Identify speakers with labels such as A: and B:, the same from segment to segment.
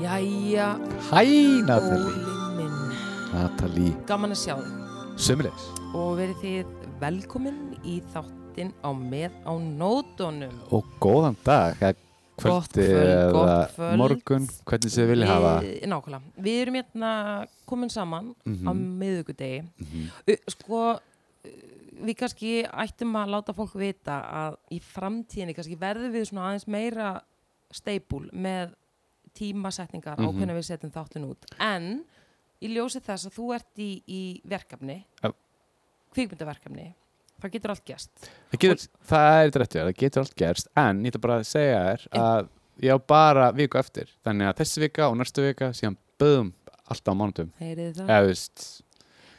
A: Jæja,
B: Hæ, Natalie
A: Óli minn,
B: Natalie
A: gaman að sjá þig
B: Sömulegs
A: og verið þið velkomin í þáttinn á með á nótunum.
B: Og góðan dag eða
A: Gott
B: kvöldi
A: kvöld,
B: eða
A: gott kvöld.
B: Morgun, hvernig þið vilja hafa
A: Við- Nákvæmlega, við erum hérna komin saman á
B: Mm.
A: miðugudegi.
B: Mhm.
A: U- Sko, uh, við kannski ættum að láta fólk vita að í framtíðinni kannski verðum við svona aðeins meira steipul með tímasetningar á
B: Mhm.
A: hvernig við setjum þáttin út. En í ljósi þess að þú ert í, í verkefni,
B: Já.
A: kvikmyndaverkefni, það getur allt gæst.
B: það, getur, það er þetta réttu, það getur allt gerst En ég ætla bara að segja þér að ég á bara viku eftir Þannig að þessi vika og næstu vika síðan böðum alltaf á mánudum
A: Heyrið þið það?
B: Eða þú veist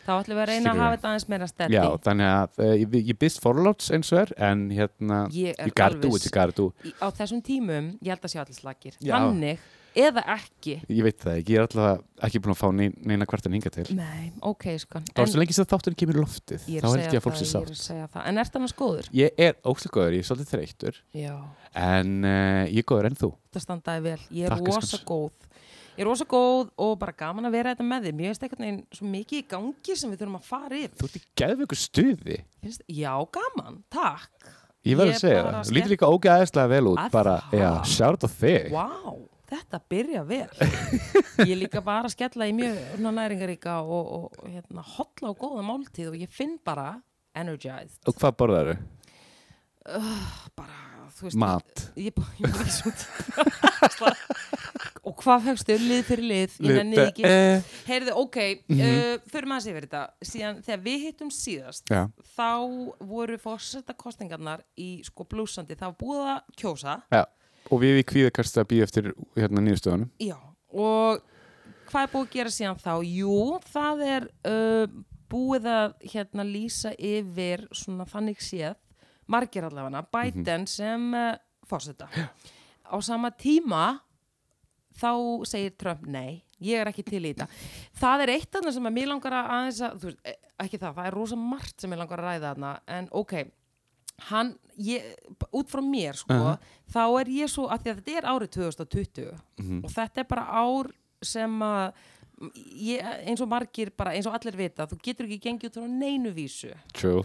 A: Þá ætlum við að reyna að
B: Skilurðu?
A: hafa þetta aðeins meira steddi.
B: Já, þannig að eh, ég, ég byrst forláts eins og er En hérna,
A: ég er
B: you gotta do
A: alveg
B: it, you gotta do it.
A: í- á þessum tímum, ég held að sjá allir slagir.
B: Já.
A: Þannig, eða ekki.
B: Ég veit það ekki, ég er alltaf ekki búin að fá nein- neina kvartan hinga til
A: Nei, ok, sko.
B: Þá er svo lengi sem þátturinn kemur í loftið
A: Ég er
B: Þá
A: að
B: held
A: segja
B: ég að fólk
A: það,
B: sé
A: Ég er
B: sátt
A: að segja það, en ert annars góður?
B: Ég er óslega góður, ég er svolítið þreyttur
A: Já.
B: En uh, ég er góður en þú
A: Það standaði vel, ég er
B: Takk,
A: rosa
B: elskan.
A: góð. Ég er rosa góð og bara gaman að vera þetta með þig. Mér finnst einhvern veginn svo mikið í gangi sem við þurfum að fara yfir.
B: Þú ert í geðveiku stuði
A: Finnst, já, gaman, takk.
B: Ég verð
A: Ég
B: að segja
A: bara
B: það,
A: skemmt-
B: þú lítur líka ógæðislega vel út
A: Að
B: Bara,
A: það?
B: já, sjárt á þig
A: Vá, þetta byrja vel. Ég er líka bara að skella í mjög svona næringaríka og, og hérna, hotla og góða máltíð og ég finn bara energized.
B: Og hvað borðar þau?
A: Bara, þú veist,
B: Mat
A: ég bara, ég er ekki svo tíma og hvað fegstu, lið fyrir lið ég nennið
B: Lita-
A: ekki,
B: eh. Mhm.
A: heyrðu, ok mm -hmm. uh, förum aðeins yfir þetta síðan þegar við hittum síðast
B: Já,
A: þá voru fórsetta kostingarnar í sko blúsandi, það var búið að kjósa
B: já Og við í kvíðakasta býð eftir hérna nýðustöðunum
A: já, og hvað er búið að gera síðan þá jú, það er uh, búið að hérna lýsa yfir svona þannig séð margir allafana, Biden sem uh, fórseta á sama tíma þá segir Trump nei, ég er ekki til í þetta það er eitt annað sem að mér langar að aðeins að, þú veist, eh, ekki það, það er rosa margt sem mér langar að ræða þarna, en ok hann, ég, b- út frá mér sko, þá er ég svo, af því að þetta er árið 2020 og þetta er bara ár sem að ég, eins og margir bara, eins og allir vita þú getur ekki gengið út frá neinu vísu
B: True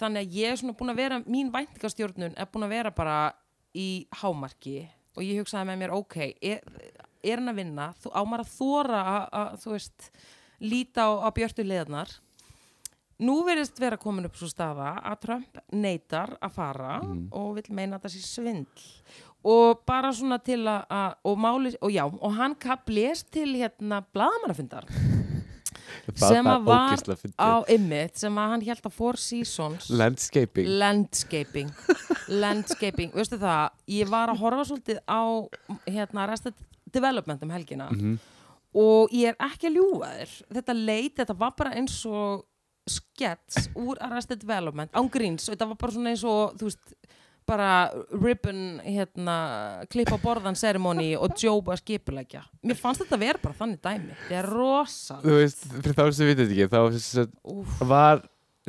A: þannig að ég er svona búin að vera mín væntingastjórnun er búin að vera bara í hámarki og ég hugsaði með mér ok, er, er hann að vinna þú ámar að þóra að, að þú veist, líta á, á björtu leðnar nú verðist vera komin upp svo staða að Trump neitar að fara og vill meina að það sé svindl og bara svona til að, að og máli, og já, og hann kablés til hérna blaðamannafundar sem að var á ymmit, sem að hann held að Four Seasons
B: Landscaping
A: landscaping landscaping, veistu það ég var að horfa svolítið á hérna resta development um helgina
B: Mhm.
A: og ég er ekki að ljúga þér þetta leit, þetta var bara eins og skets úr Arrested Development án gríns og þetta var bara svona eins og þú veist, bara ribbon hérna, klippa á borðan ceremony og djópa skipulegja mér fannst þetta vera bara þannig dæmi þetta er rosa
B: þú veist, fyrir þá sem við þetta ekki þá sem sagt, var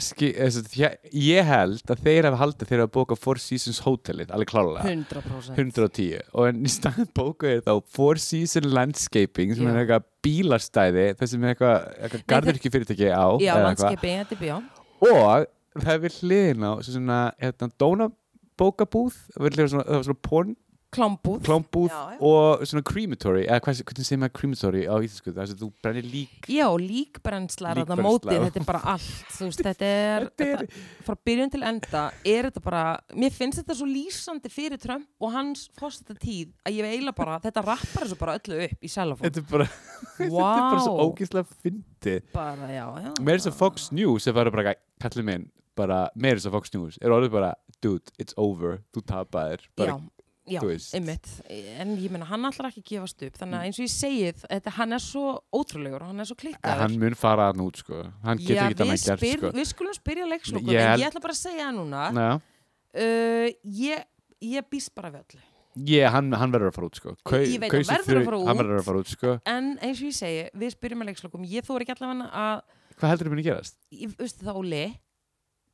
B: ski, eh, sem sagt, hjá- ég held að þeir hafa haldið þeir hafa bókað Four Seasons Hotelið alveg klálega,
A: 100%
B: 110 og en í staðin bókuð er þá Four Seasons Landscaping sem
A: Já.
B: er eitthvað bílastæði það sem er eitthvað, eitthvað garðurki fyrirtæki á
A: já,
B: eða eitthvað.
A: landscaping, E þetta er bjó
B: og það er við hliðin á sem svona, hérna, dónabókabúð það var svona, það var svona porn
A: klámbúð
B: klámbúð
A: Já, já.
B: og svona crematory eða hvað, hvernig segir maður crematory á íslensku það er að þú brennir lík
A: Já, líkbrennsla er þarna
B: Líkbrennsla.
A: mótið, þetta er bara allt, þú veist, þetta er,
B: Þetta
A: þetta-
B: er-
A: frá byrjun til enda er þetta bara, mér finnst þetta svo lýsandi fyrir Trump og hans fórstæta tíð að ég eiginlega bara, þetta rappar þessu bara öllu upp í selafón.
B: þetta er bara Þetta er bara svo ógeðslega fyndi
A: Bara, já, já.
B: Meir þess að Fox News er bara bara kallið minn bara meir þess að Fox News er orðið bara dude, it's over, þú tapaðir bara,
A: Já, já,
B: þú veist.
A: einmitt, en ég meina, hann ætlar ekki að gefast upp, þannig að eins og ég segið, þetta, hann er svo ótrúlegur og hann er svo
B: En
A: klikkaður.
B: hann mun fara hann út sko hann getur
A: Já,
B: ekki þannig
A: við
B: að
A: spyr-
B: gert sko.
A: Við skulum spyrja leikslokum,
B: Ég
A: en
B: held-
A: ég ætla bara að segja það núna,
B: sko Næ,
A: uh, ég, ég býst bara við öllu.
B: ég, hann, hann verður að fara út sko Kau,
A: Ég veit, hann
B: kausið
A: verður að
B: þrjú-
A: fara
B: hann
A: út.
B: verður að fara út sko
A: en eins og ég segi, við spyrjum að leikslokum ég þóri ekki allavega að,
B: Hvað heldur þið muni gerast?
A: ég, veistu það Óli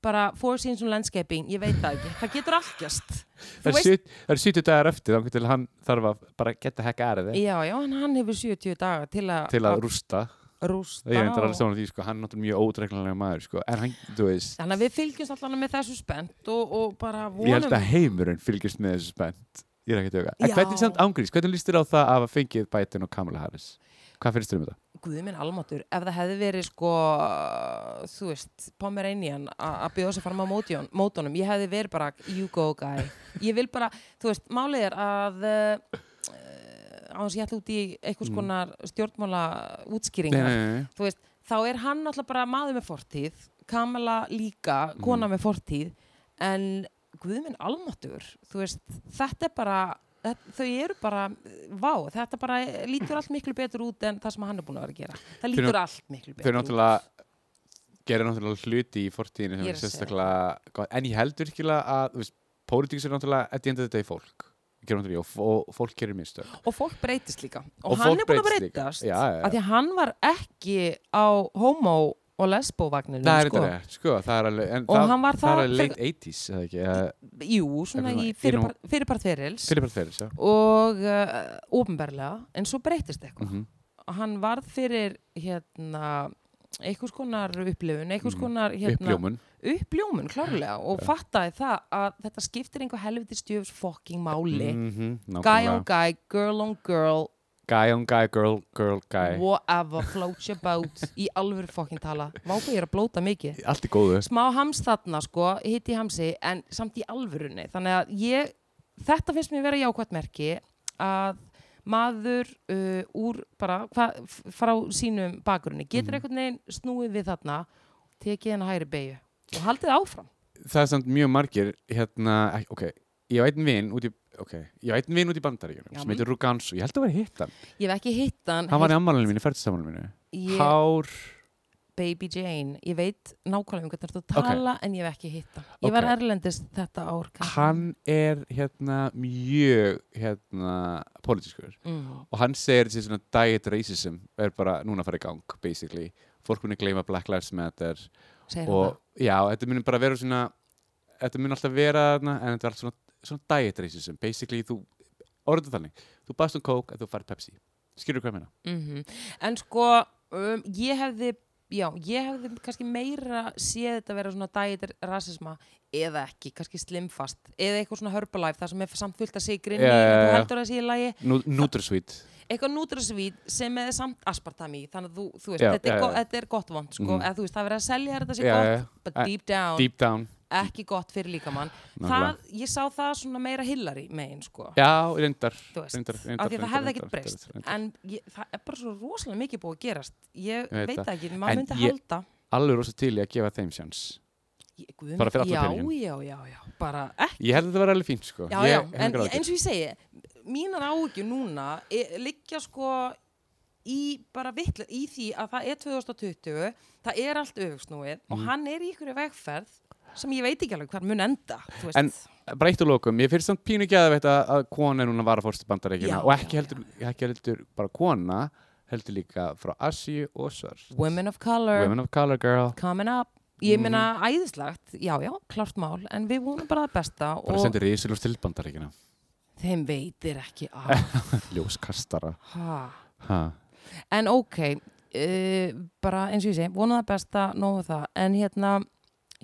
A: bara four scenes on landscaping, ég veit það ekki það getur allt gerst
B: Það
A: Þú
B: eru
A: veist-
B: 70 það eru 70 dagar eftir þannig til hann þarf að bara geta hekka aðrið
A: já, já, en hann hefur 70 daga til, a,
B: til að rústa
A: rústa
B: ég er endur
A: og-
B: alveg saman á því sko, hann er náttúrulega mjög ódreglanlega maður sko, en hann, þú veist
A: þannig að við fylgjumst allan með þessu spennt og, og bara
B: ég held
A: vonum
B: að heimurinn fylgjast með þessu spennt ég er ekki að tjóka, en
A: Já.
B: hvernig samt ángrís hvernig líst þér á það að hafa fengið Biden og Kamala Harris hvað finnst þér um þetta?
A: Guðminn almatur, ef það hefði verið sko, þú veist, Pomeranian a- að bjóða sér fram á mótjón- mótunum, ég hefði verið bara, you go guy. Ég vil bara, þú veist, málið er að uh, á þess ég ætla út í einhvers konar stjórnmála
B: Mm. Nei,
A: útskýringar,
B: nei, nei, nei.
A: þú veist, þá er hann alltaf bara maður með fortíð, Kamala líka,
B: Mhm.
A: kona með fortíð, en Guðminn almatur, þú veist, þetta er bara, þetta- þau eru bara, vá, þetta bara lítur allt miklu betur út en það sem hann er búin að vera að gera. Það
B: Þau eru-
A: lítur allt miklu
B: þau
A: betur
B: eru náttúrulega gerir náttúrulega hluti í fortíðinu sem
A: Ég er
B: er
A: að segja
B: sérstaklega gott. en ég held virkilega að, þú veist, pólitíks er náttúrulega at the end of the day fólk gerir náttúrulega, og, og fólk gerir mistök
A: út. Og fólk breytist líka. Og,
B: Og
A: hann
B: fólk
A: er búin að
B: breytist líka.
A: breytast.
B: Já, já, já.
A: Af Því að hann var ekki á homo og lesbóvagninu,
B: það er
A: sko.
B: þetta rétt, sko, það er alveg en
A: Og hann var
B: það
A: það-
B: er alveg late 80s, eða ekki eða-
A: Jú, svona
B: Eitthvað
A: í
B: svona,
A: fyrirpart fyrirpart ferils
B: Philip Artferis, já
A: og uh, ofnberlega, en svo breytist eitthvað.
B: Mhm.
A: hann varð fyrir hérna einhvers konar upplifun, einhvers
B: Mhm.
A: konar hérna,
B: uppljómun
A: uppljómun klárlega og fattaði það að þetta skiptir einhver helviti stjöfs fucking máli
B: Mhm,
A: guy on
B: nákvæmlega.
A: guy, girl on girl
B: guy on guy, girl, girl, guy
A: whatever, float your boat í alvöru fucking tala, vápa ég er að blóta mikið
B: allt í góðu
A: smá hams þarna sko hitt í hamsi en samt í alvörunni þannig að ég, þetta finnst mér vera jákvæmt merki að maður uh, úr bara hva, f- frá sínum bakgrunni
B: Mhm.
A: getur einhvern veginn snúið við þarna tekið henn að hægri beigju og haldið áfram
B: það er samt mjög margir hérna, ek- ok, ég á einn vin út í ok, ég á einn vin út í bandaríkjunum
A: Já. mm.
B: sem heitir Rugansu, ég held að vera hitt hann
A: ég hef ekki hitt hann,
B: hann var í ammálinu mínu, færdisamálinu mínu
A: ég,
B: hár,
A: Baby Jane ég veit nákvæmlega um hvernig þú ert
B: Ok.
A: að tala en ég hef ekki hitt hann ég var
B: Ok.
A: erlendist þetta ár Katrín.
B: hann er hérna mjög hérna pólitískur
A: mm.
B: og hann segir þessi svona diet racism er bara núna að fara í gang, basically fólk muni gleyma Black Lives Matter
A: segir hann
B: og já, þetta muni bara vera svona þetta muni alltaf vera þarna en þetta er allt svona, svona diet racism basically þú, orðið þannig þú baðst um kók en þú farið Pepsi skilur hvað ég meina?
A: mm en sko um, ég hefði já, ég hefði kannski meira séð þetta vera svona dætir rasisma eða ekki, kannski slimfast eða eitthvað svona Herbalife, það sem er samt fullt að sigri inn í,
B: Já, já,
A: en þú
B: já.
A: heldur að sé í lagi
B: Nú- Nutrasweet
A: eitthvað Nutrasweet sem er samt aspartam í, þannig að þú, þú veist,
B: Já,
A: þetta, er
B: já,
A: go-
B: já.
A: þetta er gott vond sko,
B: Mhm.
A: eða þú veist, það er verið að selja þér þetta sé
B: Já,
A: gott,
B: já, já.
A: but
B: Eh,
A: deep down
B: deep down
A: ekki gott fyrir líkamann það,
B: Nákvæmlega.
A: ég sá það svona meira Hillary megin sko
B: já, reyndar
A: þú veist,
B: reyndar, reyndar,
A: af því að það
B: reyndar,
A: hefði
B: reyndar,
A: ekkert breyst
B: reyndar, reyndar.
A: en ég, það er bara svo rosalega mikið búið að gerast ég
B: Ég veit
A: veit
B: það.
A: það ekki, maður
B: En
A: myndi
B: ég-
A: halda
B: alveg rosa til í að gefa þeim sjans
A: ég, guðum,
B: Bara fyrir alla
A: já,
B: peninginn.
A: já, já, já, bara ekki
B: ég held að þetta var alveg fínt sko
A: já,
B: ég,
A: já,
B: hef
A: en
B: engar áhyggjur.
A: eins og ég segi mínar áhugju núna e- liggja sko í bara vitlu, í því að það er 2020 það er allt öfugsnúið
B: Mhm.
A: og hann er í ykkur vegferð sem ég veit ekki alveg hvar mun enda þú veist,
B: En- bara eitt og lokum, ég finnst samt pínu geðaveitt að, að kona er núna að vara fórstu bandarækjuna
A: Já,
B: og ekki
A: já,
B: heldur, ekki heldur bara kona, heldur líka frá Asíu og Svart
A: women of color
B: Women of Color Girl
A: coming up ég meina æðislagt, já já, klart mál en við vonum bara það besta
B: bara
A: og
B: sendir risulur til bandarækjuna
A: þeim veitir ekki af
B: ljóskastara
A: Ha.
B: ha.
A: en ok uh, bara eins og ég segi, vonum það besta nógu það, en hérna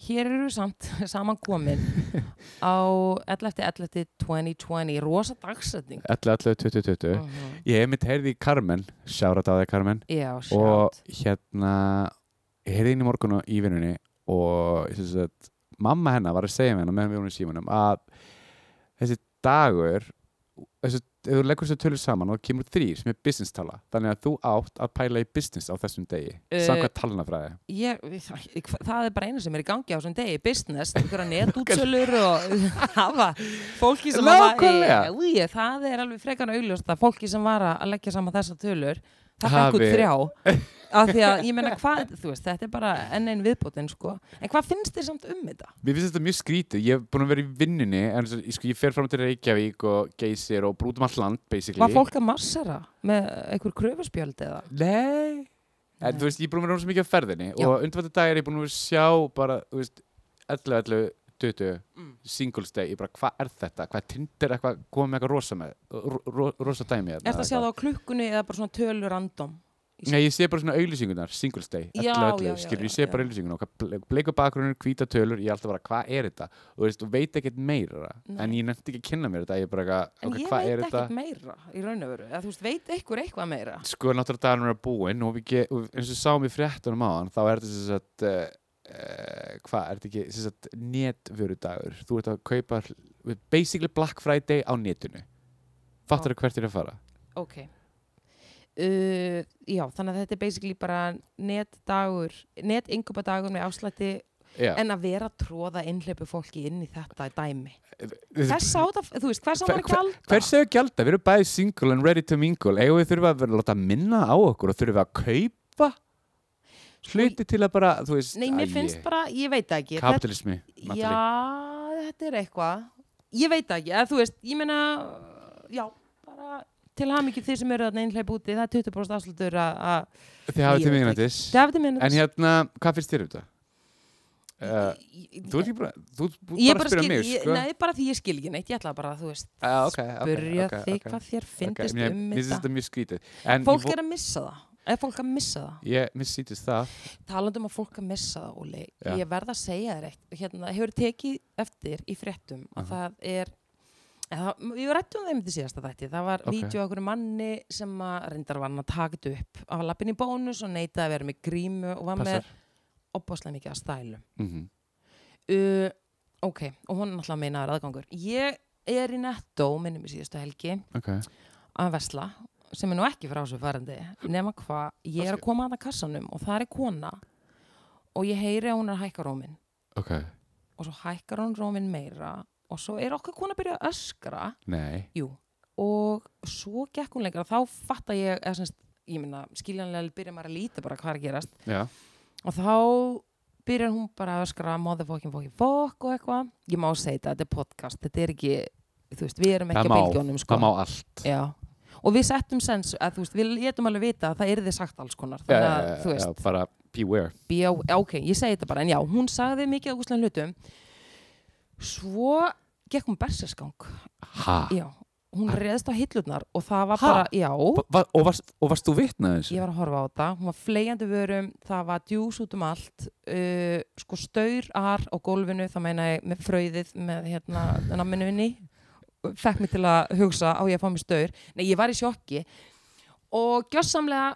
A: hér eru við samt saman komin á 11.11.2020 rosa dagsetning
B: 11, 11, 20, 20
A: Mhm.
B: ég hef mitt heyrði í Carmen, sjárat á þig Carmen
A: já,
B: og
A: sjátt
B: hérna ég heyrði inn í morgunu í vinnunni og ég syns að mamma hennar var að segja með hennar meðan við vorum í símanum að þessi dagur þessi, ef þú leggur þessu tölur saman og kemur þrýr sem er business tala þannig að þú átt að pæla í business á þessum degi
A: Eh,
B: samkvæmt talnafræði
A: ég, ég- það er bara einu sem er í gangi á þessum degi, business, einhverja netútsölur og hafa fólki sem
B: Nákvæmlega.
A: hafa, í, það er alveg frekan augljóst að fólki sem var að leggja saman þessar tölur, það fekk út
B: Hafi-
A: þrjá af því að ég meina hvað þú veist, þetta er bara enn einn viðbótin sko en hvað finnst þér samt um þetta?
B: Mér finnst þetta mjög skrítið, ég hef búin að vera í vinnunni en svo, ég, sko, ég fer fram til Reykjavík og geysir og brútum allt land basically
A: Var fólk að massera með einhver kröfuspjöld eða?
B: Nei En
A: Nei.
B: þú veist, ég er búin að vera rosa mikið á ferðinni
A: Já.
B: og undanvættu dag er ég búin að vera að sjá bara, þú veist, 11, 11, 20
A: Mm.
B: singles day, ég bara, hvað er þetta? Hvað tindir eitthvað, komið með eitthvað rosa með ro, ro, rosa dæmi hérna
A: Er það að sjá það á klukkunni eða bara svona tölu random?
B: Nei, ég sé bara svona auðlýsingunar, singles day
A: Já,
B: 11, 11,
A: já, já,
B: skilur, ég
A: já,
B: sé
A: já.
B: bara auðlýsingunar og bleikur bakgrunnur, hvíta tölur ég er alltaf bara, hvað er þetta? Og, þú veist, og veit ekkert meira
A: Nei.
B: en ég nefndi ekki að kynna mér þetta ég er bara, eitthvað,
A: En
B: ok,
A: ég
B: hvað
A: veit
B: er
A: ekkert
B: þetta?
A: meira í raun og veru, eða þú veist, veit einhver eitthvað meira
B: sko náttúrulega dagarnir er búinn og, við ge- og eins og sáum í fréttunum á hann þá er þetta sem sagt uh, uh, hvað, er þetta ekki, sem sagt netvörudagur, þú ert að kaupa hl- basically Black Friday á netinu fattar þú hvert er að fara
A: Ok uh, Já, þannig að þetta er basically bara netdagur, netingumbadagur með afslætti
B: Já,
A: en að vera að tróða innleipu fólki inn í þetta dæmi
B: Þessi-
A: Hvers á það, þú veist, hvers á
B: Hver-
A: það að gjalda?
B: Hversu hefur gælda? Við erum bæði single and ready to mingle eigum við þurfum að vera að láta minna á okkur og þurfum við að kaupa hluti til að bara, þú veist
A: Nei, mér finnst bara, ég veit það ekki Þetta-
B: kapitalismi Natalie.
A: Já, þetta er eitthvað Ég veit það ekki, eða þú veist, ég meina Já, bara til hamingju þeir sem eru að neynleip úti, það er 20% afslutur að að-
B: Þið hafið
A: Ég
B: til
A: veit
B: mig
A: ekki. Það er þetta minna
B: En hérna, hvað finnst þér um þetta? Uh, Þú ert
A: Þú
B: ekki bara, þú ert bú-
A: Ég
B: bara
A: bara
B: að spyrja
A: skil,
B: mig,
A: ég,
B: sko.
A: nei, bara því ég skil ekki neitt, ég ætla bara að, þú veist,
B: Ah, ok, ok,
A: spyrja
B: ok,
A: þig
B: ok,
A: hvað þér finnst
B: mér-
A: um
B: Mér finnst
A: þetta.
B: þetta mjög skrítið. En
A: Fólk
B: ég,
A: er að missa það, er fólk að missa það?
B: vo- ég, mér sýtist það.
A: Talandum um að fólk að missa það, Óli,
B: Já.
A: ég verð að segja þér eitt, hérna, hefur tekið eftir í fréttum að
B: Aha.
A: það er, eða það, við rættum þeim til síðasta þætti, það var
B: Ok.
A: okay. vídeo af einhverju manni sem að reyndar var hann að taka þetta upp, að var lappin í bónus og neitaði að vera með grímu og var
B: Passar.
A: með opbáslega mikið að stælu.
B: Mhm.
A: uh, ok, og hún er náttúrulega meinaður aðgangur ég er í netto, minnum í síðustu helgi
B: Ok.
A: að vesla, sem er nú ekki frá þessu farandi nema hvað, ég er að koma að það kassanum og það er kona og ég heyri að hún er að hækka róminn
B: Ok.
A: og svo hækkar hún róminn meira og svo er okkar kona að byrja að öskra
B: Nei.
A: jú, og svo gekk hún lengra, þá fatta ég eða semst, ég minna, skiljanlega byrja maður að líta bara hvað er að gerast
B: Já.
A: og þá byrjar hún bara að öskra motherfucking fucking fuck og eitthvað ég má segja þetta, þetta er podcast, þetta er ekki þú veist, við erum
B: Það
A: ekki á
B: má,
A: bylgjónum sko.
B: Það má allt.
A: Já. og við settum sens að, þú veist, við letum alveg vita að það er þið sagt alls konar
B: Já,
A: þannig að,
B: já,
A: þú
B: Eh, já,
A: veist,
B: Bara beware.
A: já, ok, ég segi þetta bara en já, hún sagði mikið ágúslega hlutum svo gekk hún berserskang
B: Ha?
A: já, hún reðst á hillurnar og það var
B: Ah. Ha?
A: bara, já,
B: Va- va- Og varst, og varst þú vitnað þessu?
A: ég var að horfa á þetta, hún var flegjandi vörum það var djús út um allt uh, sko staurar á gólfinu það meina ég með fröðið með hérna namminu minni fekk mig til að hugsa á ég að fá mér staur nei ég var í sjokki og gjössamlega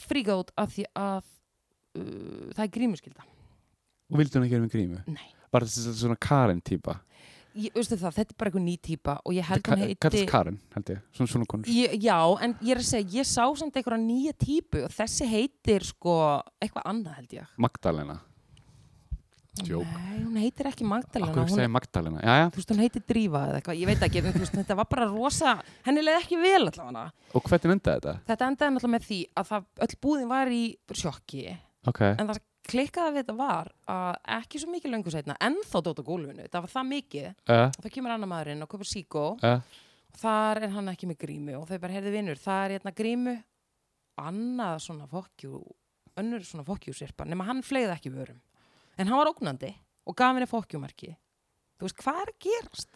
A: fríkað út af því að uh, það er grímuskylda
B: Og vildi hún ekki vera með grímu?
A: Nei.
B: Var þetta svona Karen típa?
A: ég, veistu það, þetta er bara einhver ný típa og ég held
B: Ka-
A: hún
B: kallast
A: heiti
B: Karen, held ég. Svona svona konur.
A: Ég, já, en ég er að segja, ég sá samt einhverja nýja típu og þessi heitir sko eitthvað annað held ég.
B: Magdalena. Djók.
A: Nei, hún heitir ekki Magdalena,
B: Akkur
A: hún
B: segir Magdalena. Já, já.
A: þú veist, hún heitir Drífa eða eitthvað, ég veit ekki, en þú veist, þetta var bara rosa, henni leiði ekki vel allavega.
B: Og hvernig endaði þetta?
A: Þetta endaði náttúrulega með því að það, öll búðin var í sjokki,
B: Ok.
A: en það klikkaði við þetta var að ekki svo mikið löngu setna, ennþá dóta gólfinu, það var það mikið,
B: Uh,
A: og það kemur annar maðurinn og kaupar síkó,
B: uh,
A: þar er hann ekki með grímu og þau bara heyrðu vinnur, það er hérna grímu, annað svona fokkjú, önnur svona fokkjúsirpa, nema hann fleið ekki vörum, en hann var ógnandi og gaf henni fokkjúmarki. Þú veist, hvað er að gerast?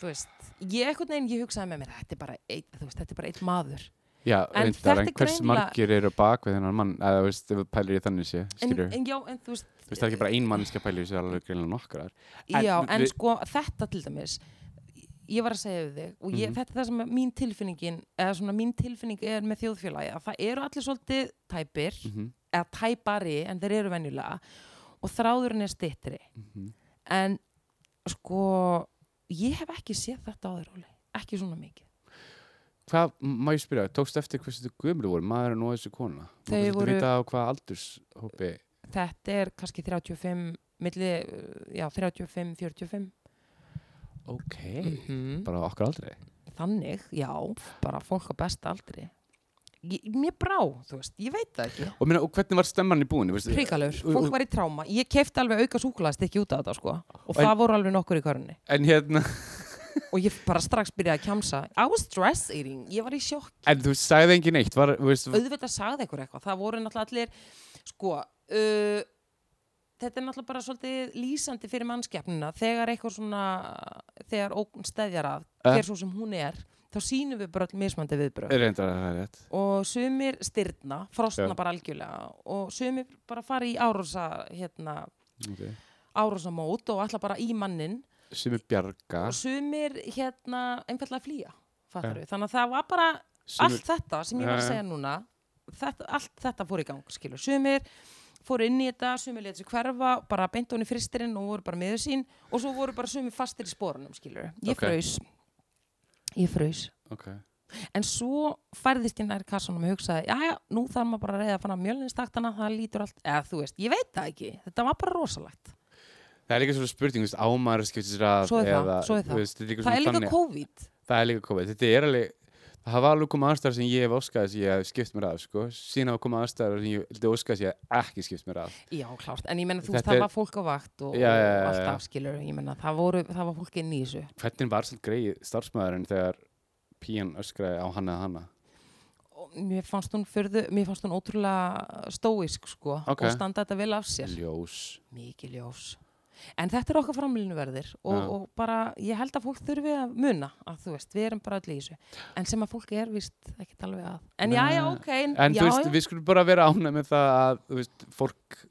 A: þú veist, ég einhvern veginn, ég hugsaði með mér þetta er bara eitt, þú veist, þetta er bara eitt maður
B: já,
A: En
B: reyndar,
A: þetta
B: en
A: er
B: hversu
A: greinilega-
B: margir eru bak við þennan mann, eða þú veist, ef við pælir í þannig sé,
A: en,
B: skilur.
A: en já, en þú veist,
B: Þú veist, það er ekki bara ein mannskja pælir í sér alveg greinlega nokkrar. En
A: já,
B: við-
A: en sko þetta til dæmis ég var að segja við þig og ég,
B: Mhm.
A: þetta er það sem að mín tilfinningin eða svona mín tilfinning er með þjóðfélagi að það eru allir svolítið tæpir
B: Mhm,
A: eða tæpari en þeir eru venjulega og þráðurinn er stittri
B: mhm.
A: en sko ég hef ekki séð þetta áður Óli ekki svona mikið
B: Hvað, m- má ég spyrja, tókst eftir hversu þetta gömlu voru, maðurinn og þessi kona? Má
A: Þau
B: svolítið
A: voru-
B: Vita á hvað aldurshópi,
A: þetta er kannski 35 milli, uh, já, 35-45
B: ok,
A: -hmm.
B: bara okkar aldrei.
A: þannig, já, bara fólk á besta aldri ég, mér brá, þú veist, ég veit það ekki
B: Og, minna, og hvernig var stemman í búinu? veistu?
A: hrikalur,
B: Og-
A: fólk
B: og-
A: var í tráma ég kefti alveg auka súkulæðst ekki út af þetta sko og
B: En-
A: það voru alveg nokkur í körunni
B: En hérna,
A: og ég bara strax byrjaði að kjamsa I was stress eating, ég var í sjokk
B: En þú sagði engin eitt, var, þú veist,
A: auðvitað sagði ykkur eitthvað, það voru náttúrulega allir sko uh, þetta er náttúrulega bara svolítið lýsandi fyrir mannskjafnina, þegar eitthvað svona þegar ógn stæðjar að
B: Eh.
A: hver svo sem hún er, þá sýnum við bara all mismandi viðbröð
B: reyndar að það er rétt.
A: og sumir styrna, frostna
B: Já.
A: bara algjörlega og sumir bara fara í árósa hérna,
B: Okay.
A: árósamót og alltaf bara í mannin
B: Sumi bjarga,
A: og sumir hérna einfallega flýja, fattar þannig að það var bara
B: sumi,
A: allt þetta sem ég var að
B: Já, já.
A: segja núna þetta, allt þetta fór í gang, skilur sumir fóru inn í þetta, sumir letur sér hverfa bara beint honum í fristirinn og voru bara meður sín og svo voru bara sumir fastir í sporunum skilur, ég
B: Ok.
A: fraus ég fraus,
B: ok.
A: en svo færðist ég nær kassanum og hugsaði, já já, nú þarf maður bara að reyða að fanna mjölninstaktana, það lítur allt eða þú veist, ég veit það ekki, þetta var bara rosalegt
B: Það er líka svona spurning, þú veist, ámar skiptis ræð
A: Svo er það,
B: eða,
A: svo er það.
B: þú Veist, þetta er líka
A: það
B: svona
A: er líka
B: þannig-
A: COVID
B: það er líka COVID. Þetta er alveg, það hafa alveg komið aðstæðar sem ég hef óskaði sem ég hef skipt mér að, sko. Síðan hafa komið aðstæðar sem ég vildi óskaði sem ég hef ekki skipt mér að.
A: já, klárt, en ég menna þú veist,
B: Þetta
A: það
B: er-
A: var fólk á vakt og,
B: Já, já, já,
A: og
B: já.
A: alltaf skilur, ég menna það, voru- það var fólk inn í þessu
B: Hvernig var svolítið greið starfsmæðurinn þegar pían öskraði á hann eða hanna?
A: og mér fannst hún fyrðu, mér fannst hún ótrúlega stóisk sko
B: Ok.
A: og standa þetta vel af sér
B: Ljós.
A: Mm, mikið ljós en þetta er okkar framlýnuverðir og,
B: Já.
A: og bara ég held að fólk þurfi að muna að þú veist, við erum bara öll í þessu en sem að fólk er vist ekkit alveg að en
B: Nei.
A: já, já, ok,
B: En
A: já,
B: þú veist,
A: já.
B: við skulum bara vera ánæg með það að, þú veist, fólk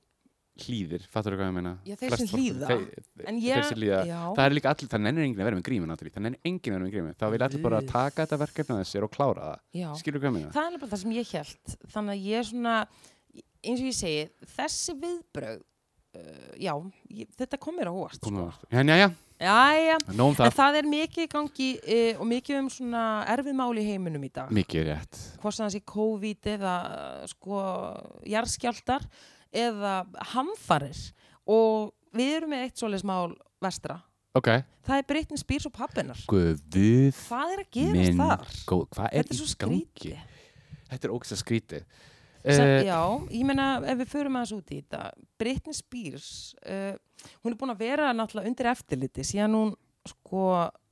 B: hlýðir, fattur þú hvað ég meina?
A: Já, þeir
B: Flest
A: sem
B: fólk-
A: hlýða.
B: þeir-
A: en
B: þeir sem hlýða.
A: já,
B: Það er líka allir, það nennir enginn að vera með grími náttúrulega, það nennir enginn að vera með grími. Það vil allir bara
A: Guð.
B: taka þetta verkefni að þessir og klára það.
A: já.
B: Skilur hvað ég meina?
A: það er bara það sem ég held þannig að ég er svona eins og ég segi, þessi viðbröð uh, já, ég, þetta kom mér á óvart
B: Komum
A: sko.
B: við. En já, já,
A: já, já,
B: nóg um
A: En
B: það.
A: það er mikið í gangi uh, og mikið um svona erfið mál í heiminum í dag.
B: Mikið rétt.
A: Hvort sem það sé COVID eða eh, sko jarðskjaldar eða hamfarir. Og við erum með eitt svoleiðs mál vestra.
B: Ok.
A: Það er Britney Spears og pappinar.
B: Guðuð
A: Hvað er að gerast
B: minn
A: þar?
B: góð. Hvað er
A: Þetta er
B: í
A: svo
B: gangi?
A: skrítið.
B: Þetta er Eh, ógæst að skríti.
A: Sem, já, ég meina ef við förum aðeins út í þetta Britney Spears uh, hún er búin að vera náttúrulega undir eftirliti síðan hún sko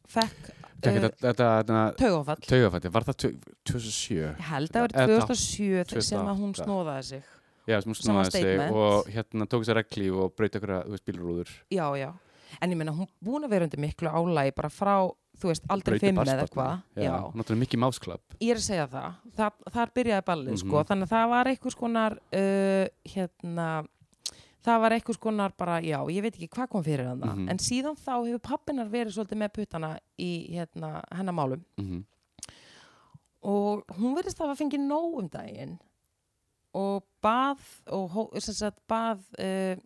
A: fekk uh,
B: Þetta, þetta, þetta,
A: taugafall
B: taugafætti, var það tau- 2007?
A: Ég held að
B: Eða
A: það verið 2007 þegar sem að hún
B: 2008.
A: snóðaði sig.
B: Já, sem hún
A: Sem var
B: snúaði sig
A: statement.
B: og hérna tók sér reglíf og braut okkur að bílrúður.
A: Já, já. En ég meina, hún búin að vera undir miklu álægi bara frá, þú veist, aldrei
B: Brauti
A: fimm eða
B: barnsbarni.
A: eitthvað. Já.
B: Já, hún átti mikið másklapp.
A: Ég er að segja það. það þar byrjaði ballið, sko.
B: Mhm.
A: Þannig að það var einhvers konar, uh, hérna, það var einhvers konar bara, já, ég veit ekki hvað kom fyrir hann
B: Mhm.
A: En síðan þá hefur pappinar verið svolítið með puttana í, hérna, hennar málum.
B: Mm
A: og hún verðist að hafa fengið nóg um daginn og bað og hó- sem sagt bað uh,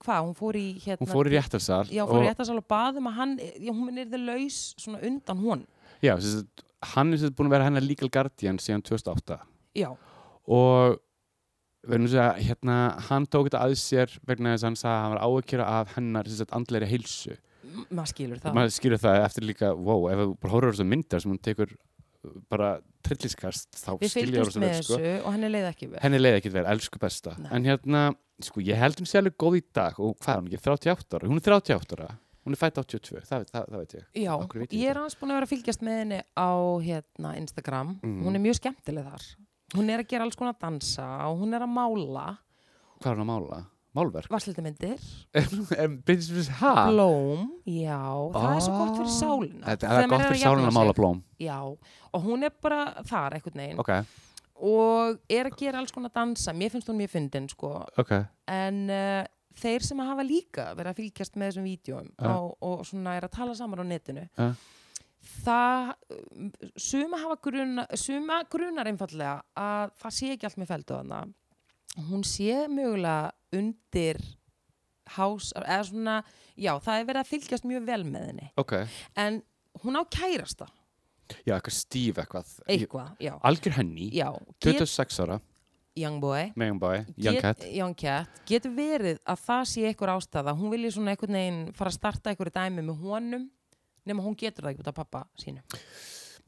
A: hvað, hún fór í hérna
B: Hún fór í réttarsal.
A: já, fór í
B: og-
A: réttarsal og bað um að hann já, hún er þið laus svona undan hún
B: Já, sem sagt, hann er sem sagt búin að vera hennar legal guardian síðan 2008.
A: já,
B: og verðum að segja, hérna, hann tók þetta að sér vegna þess að hann sagði að hann var áökjöra af hennar sem sagt, andleiri heilsu
A: m- maður skilur það
B: maður skilur það eftir líka, wow, ef þú bara horfður á þessum myndar sem hún tekur uh, bara trilliskast, þá
A: við
B: skilur
A: fylgjumst
B: þessum
A: með
B: vel, sko.
A: þessu og henni leiði ekki vel
B: henni leiði ekkert vel, elsku besta
A: Nei.
B: en hérna, sko, ég held hún sé alveg góð í dag og hvað er hún ekki, 38 ára, hún er 38 ára hún er fætt 82, það, það, það veit ég
A: já,
B: Af hverju veit ég
A: ég er
B: þetta?
A: aðeins búin að vera að fylgjast með henni á hérna Instagram
B: Mhm.
A: hún er mjög skemmtileg þar hún er að gera alls konar dansa og hún er að mála
B: hvað er hún að mála? Málverk?
A: varslitamindir,
B: En Bryndís Bryndís, ha?
A: blóm já, það er svo gott fyrir
B: Ah.
A: sálina
B: Þetta- Það
A: Þegar
B: er
A: maður
B: gott fyrir
A: að jafna
B: sálinn að
A: sig.
B: mála blóm
A: Já, og hún er bara þar einhvern veginn
B: Ok,
A: og er að gera alls konar dansa, mér finnst hún mjög fyndin sko,
B: ok
A: en uh, þeir sem hafa líka verið að fylgjast með þessum vídjóum
B: Ja.
A: uh. og svona er að tala saman á netinu
B: Ja.
A: það um, suma hafa gruna, suma grunar einfallega að það sé ekki allt með feldu þarna hún sé mögulega undir hás, eða svona, já, það er verið að fylgjast mjög vel með henni,
B: Ok,
A: en hún á kærasta
B: Já, eitthvað stíf eitthvað. Ég-
A: eitthvað, já,
B: Algjör henni,
A: já get-
B: 26 ára,
A: Young Boy
B: megan bæ, young
A: Get-
B: cat.
A: Young Cat getur verið að það sé einhver ástæða hún vilji svona einhvern veginn fara að starta einhverju dæmi með honum nema hún getur það ekki út af pappa sínu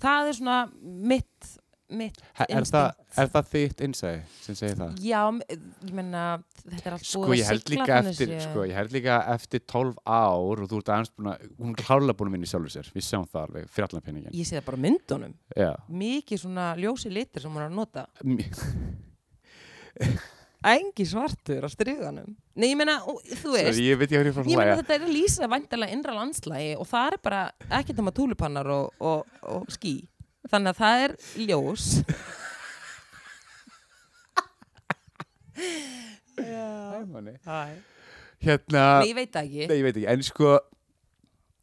A: það er svona mitt mitt
B: Er það, er það þitt innsæði sem segir það?
A: já, m- ég menna þetta er allt
B: Sko
A: búið
B: ég,
A: að
B: held
A: sigla
B: líka
A: þannig
B: eftir,
A: séð.
B: sko ég held líka eftir 12 ár og þú ert aðeins búin að, hún er klárlega búin að vinna í sjálfur sér, við sjáum það alveg, fjallanpenningin.
A: ég sé það bara á myndunum
B: Já.
A: mikið svona ljósi litir sem hún er að nota
B: M-
A: engi svartur á stryganum nei, ég menna, og- þú veist
B: Sorry, ég veit ég hvernig ég fór
A: Ég
B: að
A: meina
B: hlæja.
A: þetta er að lýsa væntalega innra landslægi og það er bara ekkert um að túlupannar og, og, og ský. Þannig að það er ljós.
B: Æ, manni.
A: Nei,
B: Hérna,
A: ég veit það ekki.
B: nei, ég veit ekki, en sko,